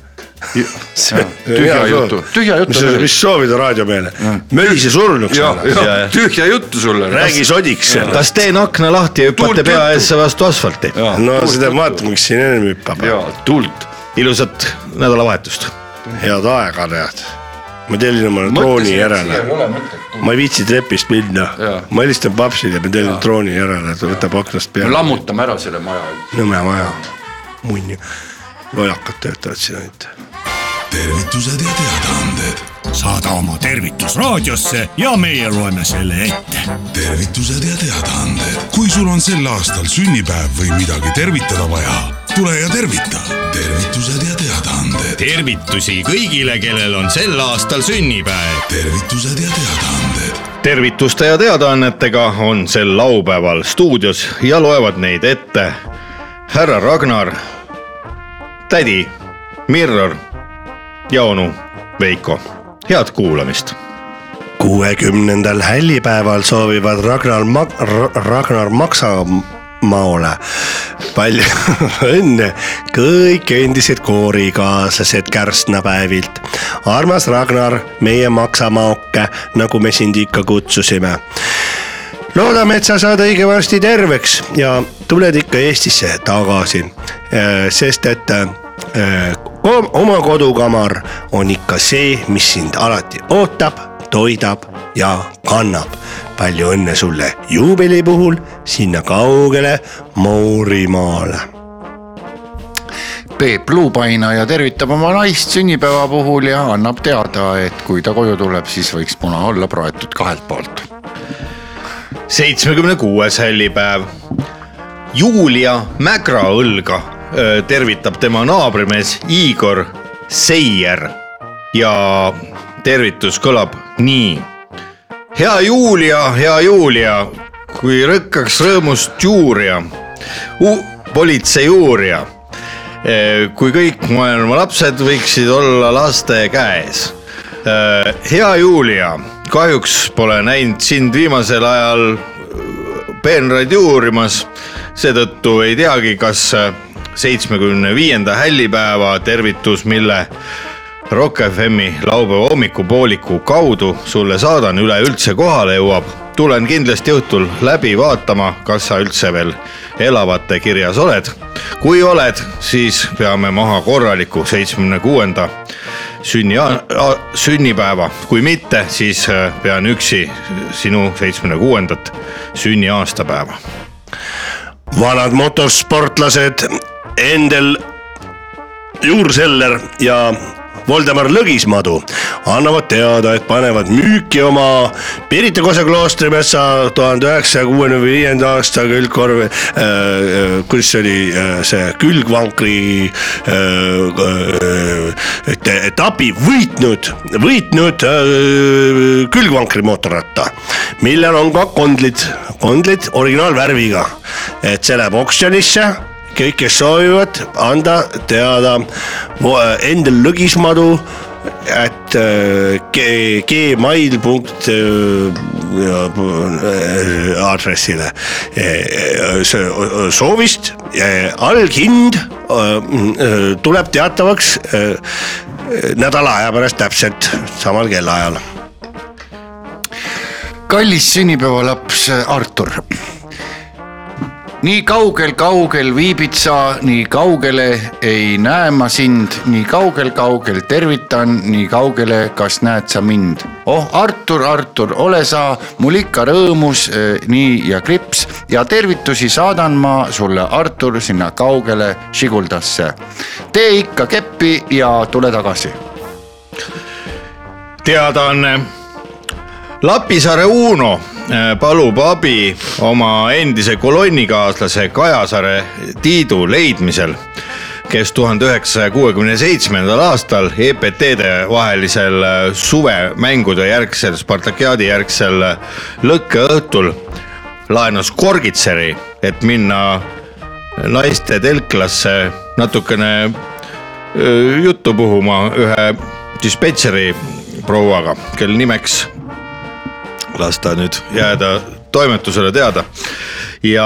C: tühja juttu , tühja juttu .
B: mis soovida raadiomehele , mölise surnuks
C: ja
B: ära ,,
A: Ja,
C: ja
A: ja.
C: tühja juttu sulle .
B: räägi sodiks selle .
A: kas teen akna lahti ja hüppate
C: Tuult
A: pea
C: juttu.
A: ees vastu asfalti ?
B: no seda vaatame , miks siin ennem hüppab .
C: ja tuult .
A: ilusat nädalavahetust .
B: head aega , tead . ma tellin omale drooni järele . ma ei viitsi trepist minna
C: Jaa. ,
B: ma helistan papsile , ma tellin drooni järele , ta võtab aknast
C: me
B: peale .
C: lammutame ära selle maja .
B: Nõmme maja , munni , lollakad töötavad siin ainult .
E: tervitused ja teadaanded . saada oma tervitus raadiosse ja meie loeme selle ette . tervitused ja teadaanded . kui sul on sel aastal sünnipäev või midagi tervitada vaja , tule ja tervita . tervitused ja teadaanded ,
D: tervitusi kõigile , kellel on sel aastal sünnipäev .
E: tervitused ja teadaanded .
A: tervituste ja teadaannetega on sel laupäeval stuudios ja loevad neid ette härra Ragnar , tädi Mirror ja onu Veiko , head kuulamist .
B: kuuekümnendal hällipäeval soovivad Ragnar Mak- , Ragnar Maksamaole palju õnne kõik endised koorikaaslased kärstnapäevilt . armas Ragnar , meie Maksamaoke , nagu me sind ikka kutsusime . loodame , et sa saad õige varsti terveks ja tuled ikka Eestisse tagasi , sest et äh, ko- oma kodukamar on ikka see , mis sind alati ootab toidab ja kannab . palju õnne sulle juubeli puhul sinna kaugele Moorimaale .
C: Peep Luupainaja tervitab oma naist sünnipäeva puhul ja annab teada , et kui ta koju tuleb , siis võiks muna olla praetud kahelt poolt .
A: seitsmekümne kuues hällipäev . Julia Mägraõlga öö, tervitab tema naabrimees Igor Seier ja tervitus kõlab nii . hea Julia , hea Julia , kui rõkkaks rõõmust juuria , politsei uurija , kui kõik maailma lapsed võiksid olla laste käes hea Julia , kahjuks pole näinud sind viimasel ajal peenraid juurimas , seetõttu ei teagi , kas seitsmekümne viienda hällipäeva tervitus , mille Rock FM-i laupäeva hommikupooliku kaudu sulle saadan , üleüldse kohale jõuab . tulen kindlasti õhtul läbi vaatama , kas sa üldse veel elavate kirjas oled . kui oled , siis peame maha korraliku seitsmekümne kuuenda sünni , sünnipäeva , kui mitte , siis äh, pean üksi sinu seitsmekümne kuuendat sünniaastapäeva .
B: vanad motorsportlased Endel Juurseller ja Voldemar Lõgismadu annavad teada , et panevad müüki oma Pirita Kose kloostrimetsa tuhande üheksasaja kuuekümne viienda aasta külgkorvi äh, , kuidas see oli äh, , see külgvankri äh, äh, et- etapi võitnud , võitnud äh, külgvankri mootorratta , millel on ka kondlid , kondlid originaalvärviga , et see läheb oksjonisse kõik , kes soovivad anda teada äh, mu- Endel Lõgismadu , et äh, gmail punkt äh, aadressile äh, see, äh, soovist , alghind äh, tuleb teatavaks äh, nädala aja pärast täpselt samal kellaajal .
C: kallis sünnipäevalaps äh, Artur . nii kaugel-kaugel viibid sa , nii kaugele ei näe ma sind , nii kaugel-kaugel tervitan , nii kaugele , kas näed sa mind ? oh Artur , Artur , ole sa mul ikka rõõmus , nii ja krips ja tervitusi saadan ma sulle , Artur , sinna kaugele Žiguldasse . tee ikka keppi ja tule tagasi
A: teadaanne . Lapisaare Uno äh, palub abi oma endise kolonnikaaslase Kajasaare Tiidu leidmisel , kes tuhande üheksasaja kuuekümne seitsmendal aastal EPT-de vahelisel äh, suvemängude järgsel , Spartakiaadi järgsel äh, lõkkeõhtul laenas korgitseri , et minna naiste telklasse natukene öö, Äh, juttu puhuma ühe dispetšeri prouaga , kelle nimeks las ta nüüd jääda toimetusele teada . ja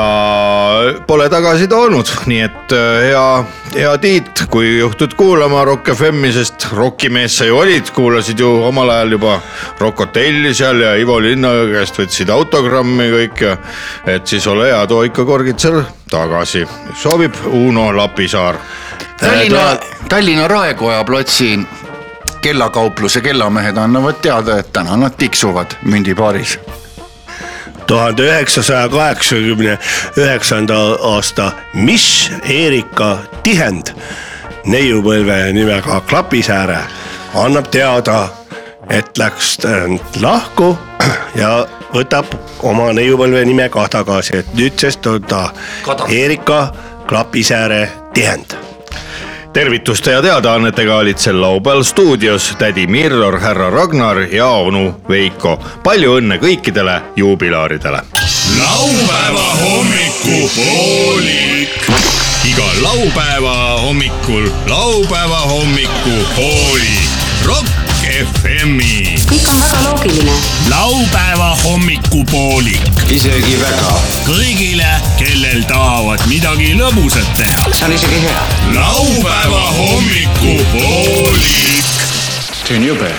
A: pole tagasi toonud , nii et öö, hea , hea Tiit , kui juhtud kuulama Rock FM-i , sest rokimees sa ju olid , kuulasid ju omal ajal juba Rock Hotelli seal ja Ivo Linnaöö käest võtsid autogrammi kõik ja et siis ole hea , too ikka korgitser tagasi , soovib Uno Lapisaar
C: Tallinna , Tallinna Raekoja platsi kellakaupluse kellamehed annavad teada , et täna nad tiksuvad mündipaaris .
B: tuhande üheksasaja kaheksakümne üheksanda aasta Miss Erika Tihend neiupõlve nimega Klapisääre annab teada , et läks äh, lahku ja võtab oma neiupõlve nime ka tagasi , et nüüdsest on ta Erika Klapisääre Tihend
A: tervituste ja teadaannetega olid sel laupäeval stuudios tädi Mirror , härra Ragnar ja onu Veiko . palju õnne kõikidele juubilaaridele .
E: laupäeva hommikupoolik .
D: iga laupäeva hommikul laupäeva hommikupooli Rock FM-i .
F: kõik on väga loogiline
E: laupäeva hommikupoolik .
G: isegi väga .
E: kõigile , kellel tahavad midagi lõbusat teha .
G: see on isegi hea .
D: laupäeva hommikupooli .
G: see on jube .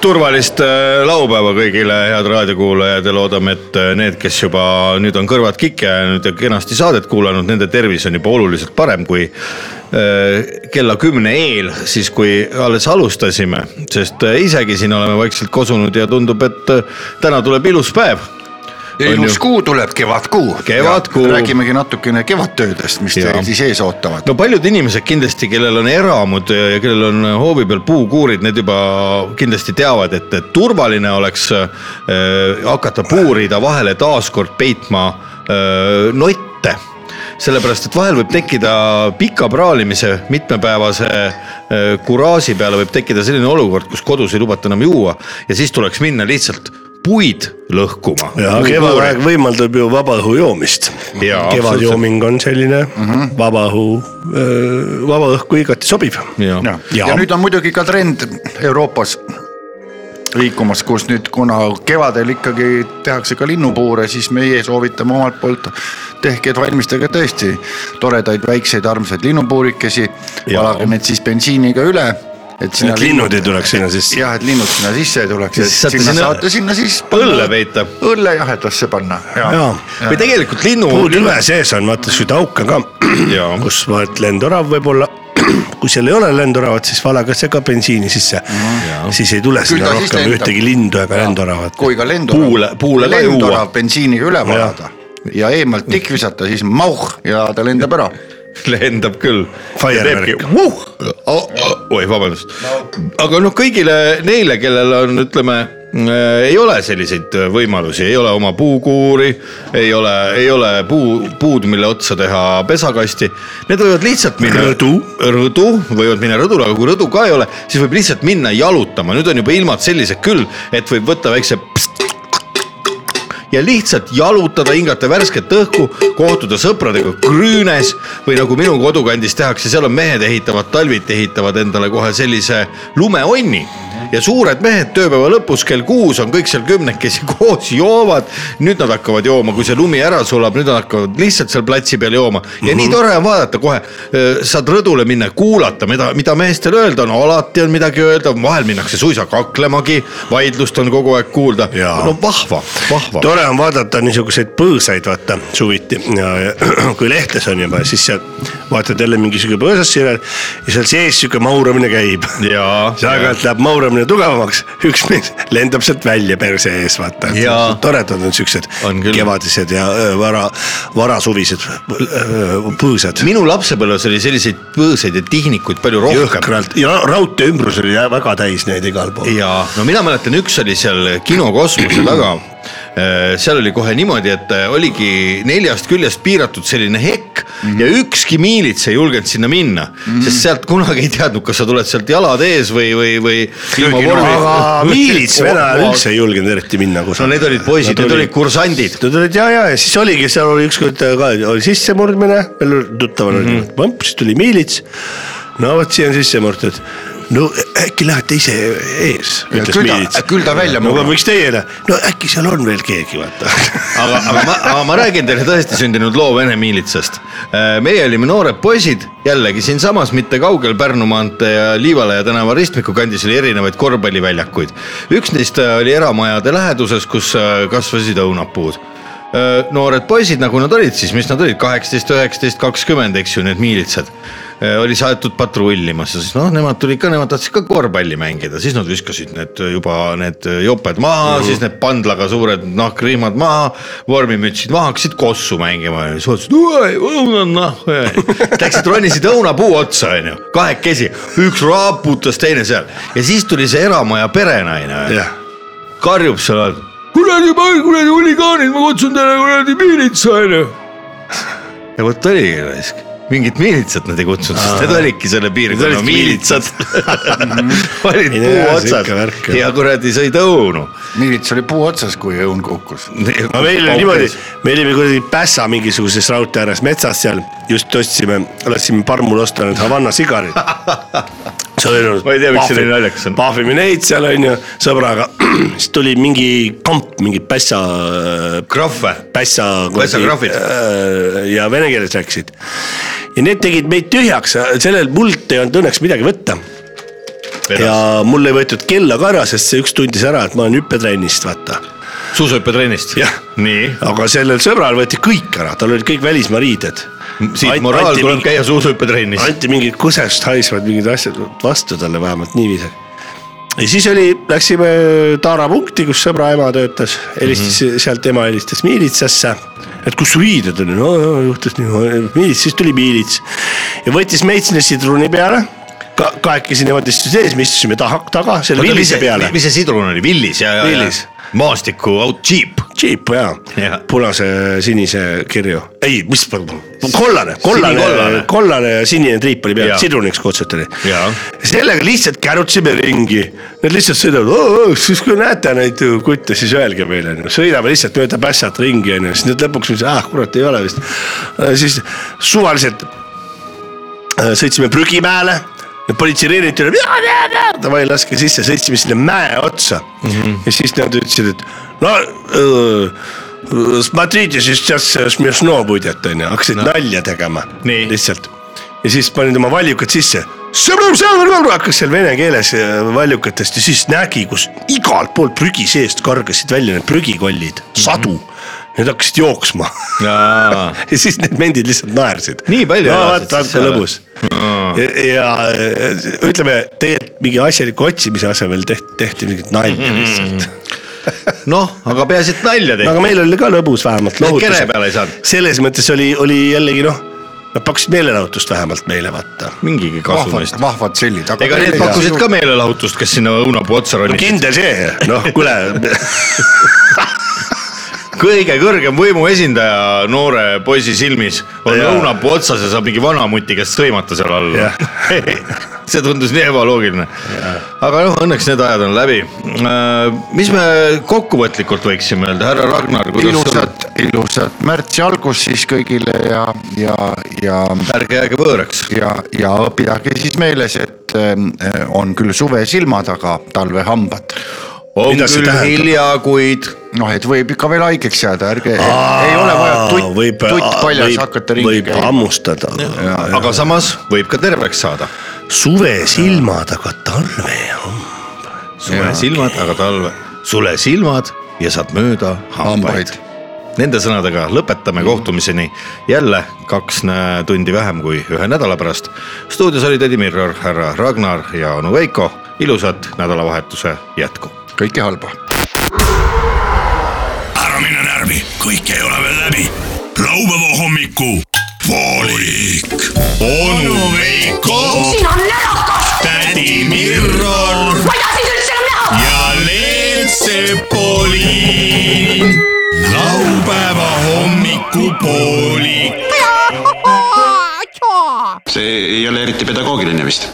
A: turvalist äh, laupäeva kõigile , head raadiokuulajad ja loodame , et äh, need , kes juba nüüd on kõrvad kikki ajanud ja kenasti saadet kuulanud , nende tervis on juba oluliselt parem kui äh, kella kümne eel , siis kui alles alustasime , sest äh, isegi siin oleme vaikselt kosunud ja tundub , et äh, täna tuleb ilus päev .
C: ja ilus kuu tuleb , kevadkuu .
A: Kevadkuu.
C: räägimegi natukene kevadtöödest , mis
A: Jaa.
C: teil siis ees ootavad .
A: no paljud inimesed kindlasti , kellel on eramud ja kellel on hoovi peal puukuurid , need juba kindlasti teavad , et turvaline oleks äh, hakata puurida vahele taaskord peitma äh, notte sellepärast , et vahel võib tekkida pika praalimise , mitmepäevase äh, kuraaži peale võib tekkida selline olukord , kus kodus ei lubata enam juua ja siis tuleks minna lihtsalt puid lõhkuma .
B: ja kevadaeg võimaldab ju vabaõhu joomist .
A: Jaa,
B: kevadjooming on selline mm -hmm. vabaõhu , vabaõhku igati sobib .
A: ja
C: ja, ja. , ja nüüd on muidugi ka trend Euroopas liikumas , kus nüüd , kuna kevadel ikkagi tehakse ka linnupuure , siis meie soovitame omalt poolt , tehke , valmistage tõesti toredaid väikseid armsaid linnupuurikesi ,
A: Jaa.
C: valage need siis bensiiniga üle , et sinna
B: et linnud ei tuleks sinna sisse .
C: jah , et linnud sinna sisse ei tuleks ,
A: Ja
C: et
A: siis saate
C: sinna
A: sinna
C: saate sinna siis
A: õlle peita
C: õlle jahedasse panna ja. .
B: jaa ,
A: või tegelikult linnu .
B: puutüve sees on , vaata sihuke auk on ka ,
A: jaa
B: kus vaat lendorav võib olla . kui seal ei ole lendoravat , siis valage see ka bensiini sisse mm . -hmm. siis ei tule sinna
C: Mhm. ta siis
B: rohkem
C: lendab.
B: ühtegi lindu ega lendoravat .
C: kui ka
A: Puule-
C: lendorav ,
A: puule ka
C: lendorav
A: juua.
C: bensiiniga üle valada ja eemalt tikk visata , siis mauh ja ta lendab ära .
A: lendab küll .
B: Firework.
A: Oh, oi , vabandust . aga noh , kõigile neile , kellel on , ütleme , ei ole selliseid äh, võimalusi , ei ole oma puukuuri , ei ole , ei ole puu , puud , mille otsa teha pesakasti . Need võivad lihtsalt minna .
B: Rõdu.
A: rõdu , võivad minna rõdule , aga kui rõdu ka ei ole , siis võib lihtsalt minna jalutama , nüüd on juba ilmad sellised küll , et võib võtta väikse ja lihtsalt jalutada , hingata värsket õhku , kohtuda sõpradega Grüünes või nagu minu kodukandis tehakse , seal on mehed ehitavad , talviti ehitavad endale kohe sellise lumeonni ja suured mehed tööpäeva lõpus kell kuus on kõik seal kümnekesi koos joovad . nüüd nad hakkavad jooma , kui see lumi ära sulab , nüüd nad hakkavad lihtsalt seal platsi peal jooma ja mm -hmm. nii tore on vaadata kohe , saad rõdule minna , kuulata , mida , mida meestel öelda on , alati on midagi öelda , vahel minnakse suisa kaklemagi , vaidlust on kogu aeg kuulda .
B: Jaa.
A: no vahva , vahva .
B: tore on vaadata niisuguseid põõsaid , vaata suviti ja, ja kui lehtes on juba , siis seal vaatad jälle mingisugune põõsas sinna ja seal sees sihuke mauramine käib .
A: jaa ,
B: aeg-ajalt läheb mauramine tugevamaks , üks mees lendab sealt välja perse ees , vaata
A: Jaa. .
B: toredad on siuksed
A: On küll.
B: kevadised ja öö, vara , varasuvised öö, põõsad .
A: minu lapsepõlves oli selliseid põõsaid ja tihnikuid palju rohkem .
B: jõhkralt ja raudtee ümbrus oli jah väga täis neid igal pool .
A: ja no mina mäletan , üks oli seal kinokosmose taga . seal oli kohe niimoodi , et äh, oligi neljast küljest piiratud selline hekk mm
B: Mhm.
A: -hmm. ja ükski miilits ei julgenud sinna minna mm , -hmm. sest sealt kunagi ei teadnud , kas sa tuled sealt jalad ees või , või , või .
B: aga miilits Vene ajal üldse ei julgenud eriti minna
A: no
B: kusagile .
A: need olid poisid , need olid kursandid .
B: Nad olid ja , ja , ja siis oligi , seal oli ükskord äh, ka oli sissemurdmine , meil oli tuttaval oli põmp , siis tuli miilits . no vot , siia on sisse murtud . no äkki lähete ise ees ,
C: Ja
B: ütles
C: küll ta-
B: miilits .
C: küll ta välja
B: no aga
C: murrab.
B: miks teie ei lähe , no äkki seal on veel keegi , vaata .
A: aga , aga ma , aga ma räägin teile tõesti sündinud loo Vene miilitsast . meie olime noored poisid , jällegi siinsamas , mitte kaugel Pärnu maantee ja Liivalaia tänava ristmiku kandis oli erinevaid korvpalliväljakuid . üks neist äh, oli eramajade läheduses , kus äh, kasvasid õunapuud Äh, noored poisid , nagu nad olid siis , mis nad olid , kaheksateist , üheksateist , kakskümmend , eks ju , need miilitsad . oli saadetud patrullima , siis noh , nemad tulid ka , nemad tahtsid ka korvpalli mängida , siis nad viskasid need äh, juba need joped maha mm , -hmm. siis need pandlaga suured nahkrihmad maha , vormimütsid maha , hakkasid kossu mängima ja siis vaatasid , õuna nahku ja läksid , ronisid õunapuu otsa , onju , kahekesi , üks raputas , teine seal ja siis tuli see eramaja perenaine onju
B: jah ,
A: karjub seal all . kuradi , kuradi huligaanid , ma kutsun teile kuradi miilitsa onju . ja vot oligi raisk , mingit miilitsat nad ei kutsunud , sest need olidki selle piirkonna
B: olidki
A: miilitsad . olid
B: Ei, no jaa, see
A: puuotsad
B: ikka värk, jah.
A: ja kuradi sõid õunu .
C: miilits oli puu otsas , kui õun kukkus .
B: no meil oli niimoodi , me olime kuradi Pässa mingisuguses raudtee ääres metsas seal , just ostsime , lastsime parmul osta need Havana sigarid .
A: Ma ei tea, miks see nii naljakas on.
B: pahvime neid seal onju sõbraga , siis tuli mingi kamp , mingi Pässa ,
A: krahve ,
B: Pässa .
A: Pässa krahvid.
B: ja vene keeles rääkisid . ja need tegid meid tühjaks , sellel mult ei olnud õnneks midagi võtta ja mul ei võetud kella ka ära , sest see üks tundis ära , et ma olen hüppetrennist , vaata
A: suusahüppetrennist
B: Jah. .
A: nii ,
B: aga sellel sõbral võeti kõik ära , tal olid kõik välismaa riided .
A: siit moraal tuleb käia suusahüppetrennis .
B: anti mingid kusest haisvad mingid asjad vastu talle vähemalt niiviisi . ja siis oli , läksime Taara punkti , kus sõbra ema töötas , helistas
A: Mhm.
B: mm , -hmm. sealt ema helistas miilitsasse . et kus su riided on , no no, juhtus nii , miilits , siis tuli miilits ja võttis meid sinna sidruni peale ka, . kahekesi nemad istusid ees , me istusime taha , taga selle villise peale .
A: mis see sidrun oli , Villis ja , ja , ja
B: Villis.
A: maastiku out jeep .
B: džiip jaa
A: Jah.
B: ja. , punase-sinise kirju , ei , mis , kollane ,
A: Sinikollane.
B: kollane , kollane ja sinine triip oli
A: Jaa.
B: peal , sidruniks kutsuti neid .
A: Jaa.
B: sellega lihtsalt kärutasime ringi , nad lihtsalt sõidavad , siis kui näete neid kutte , siis öelge meile , sõidame lihtsalt mööda pässat ringi onju , siis nüüd lõpuks , ah kurat , ei ole vist , siis suvaliselt Äh, sõitsime prügimäele , politseireerid tulid , davai laske sisse , sõitsime sinna mäe otsa mm . -hmm. ja siis nad ütlesid , et no äh, Madridi siis just smešno budjet onju , hakkasid no. nalja tegema
A: Nii.
B: lihtsalt . ja siis panid oma valjukad sisse hakkas seal vene keeles äh, valjukatest ja siis nägi , kus igalt poolt prügi seest kargasid välja need prügikollid , sadu mm . -hmm. Need hakkasid jooksma ja siis need vendid lihtsalt naersid .
A: Nii palju
B: no,
A: elasid
B: vaata ,
A: siis
B: vaata
A: seal.
B: lõbus ja, ja äh, ütleme , tegelikult mingi asjaliku otsimise asemel tehti , tehti mingit nalja
A: Mm-hmm.
B: lihtsalt .
A: noh , aga peaasi , et nalja
B: no
A: tehti .
B: aga meil oli ka lõbus vähemalt .
A: kere peale ei saanud.
B: selles mõttes oli , oli jällegi noh , nad pakkusid meelelahutust vähemalt meile vaata .
A: mingigi kasu
C: vahvad
A: neist ,.
C: vahvad sellid .
A: ega need pakkusid ka meelelahutust , kes sinna õunapuu otsa ronisid .
B: kindel see , noh kuule ,
A: kõige kõrgem võimu esindaja noore poisi silmis on
B: Jaa.
A: õunapuu otsas ja saab mingi vanamuti käest sõimata seal all
B: Jah. .
A: see tundus nii ebaloogiline . aga noh , õnneks need ajad on läbi . mis me kokkuvõtlikult võiksime öelda , härra Ragnar , kuidas on ?
C: ilusat , ilusat märtsi algust siis kõigile ja , ja , ja
A: ärge jääge võõraks .
C: ja , ja pidage siis meeles , et ähm, on küll suvesilmad , aga talvehambad .
A: on
B: Mida see
A: küll
B: tähendab?
A: hilja , kuid
C: noh , et võib ikka veel haigeks jääda , ärge , ei ole vaja tutt ,
A: äh,
C: tutt paljas hakata ringi
B: võib
C: käima .
B: hammustada .
A: aga samas võib ka terveks saada .
B: suvesilmad , aga talve .
A: sule silmad , aga talve . sule silmad ja saad mööda hambaid,
C: Hambaid.
A: hambaid. . Nende sõnadega lõpetame kohtumiseni jälle kaks nä- tundi vähem kui ühe nädala pärast . stuudios olid Edi Mirror , härra Ragnar ja onu Veiko . ilusat nädalavahetuse jätku .
C: kõike halba
E: ära mine närvi , kõik ei ole veel läbi . laupäeva hommiku poolik . onu Veiko ,
F: sina närakas ,
E: tädi Mirror
F: ma ei taha sind üldse enam näha .
E: ja Leelsepoliin . laupäeva hommikupoolik .
F: tšaa .
G: see ei ole eriti pedagoogiline vist .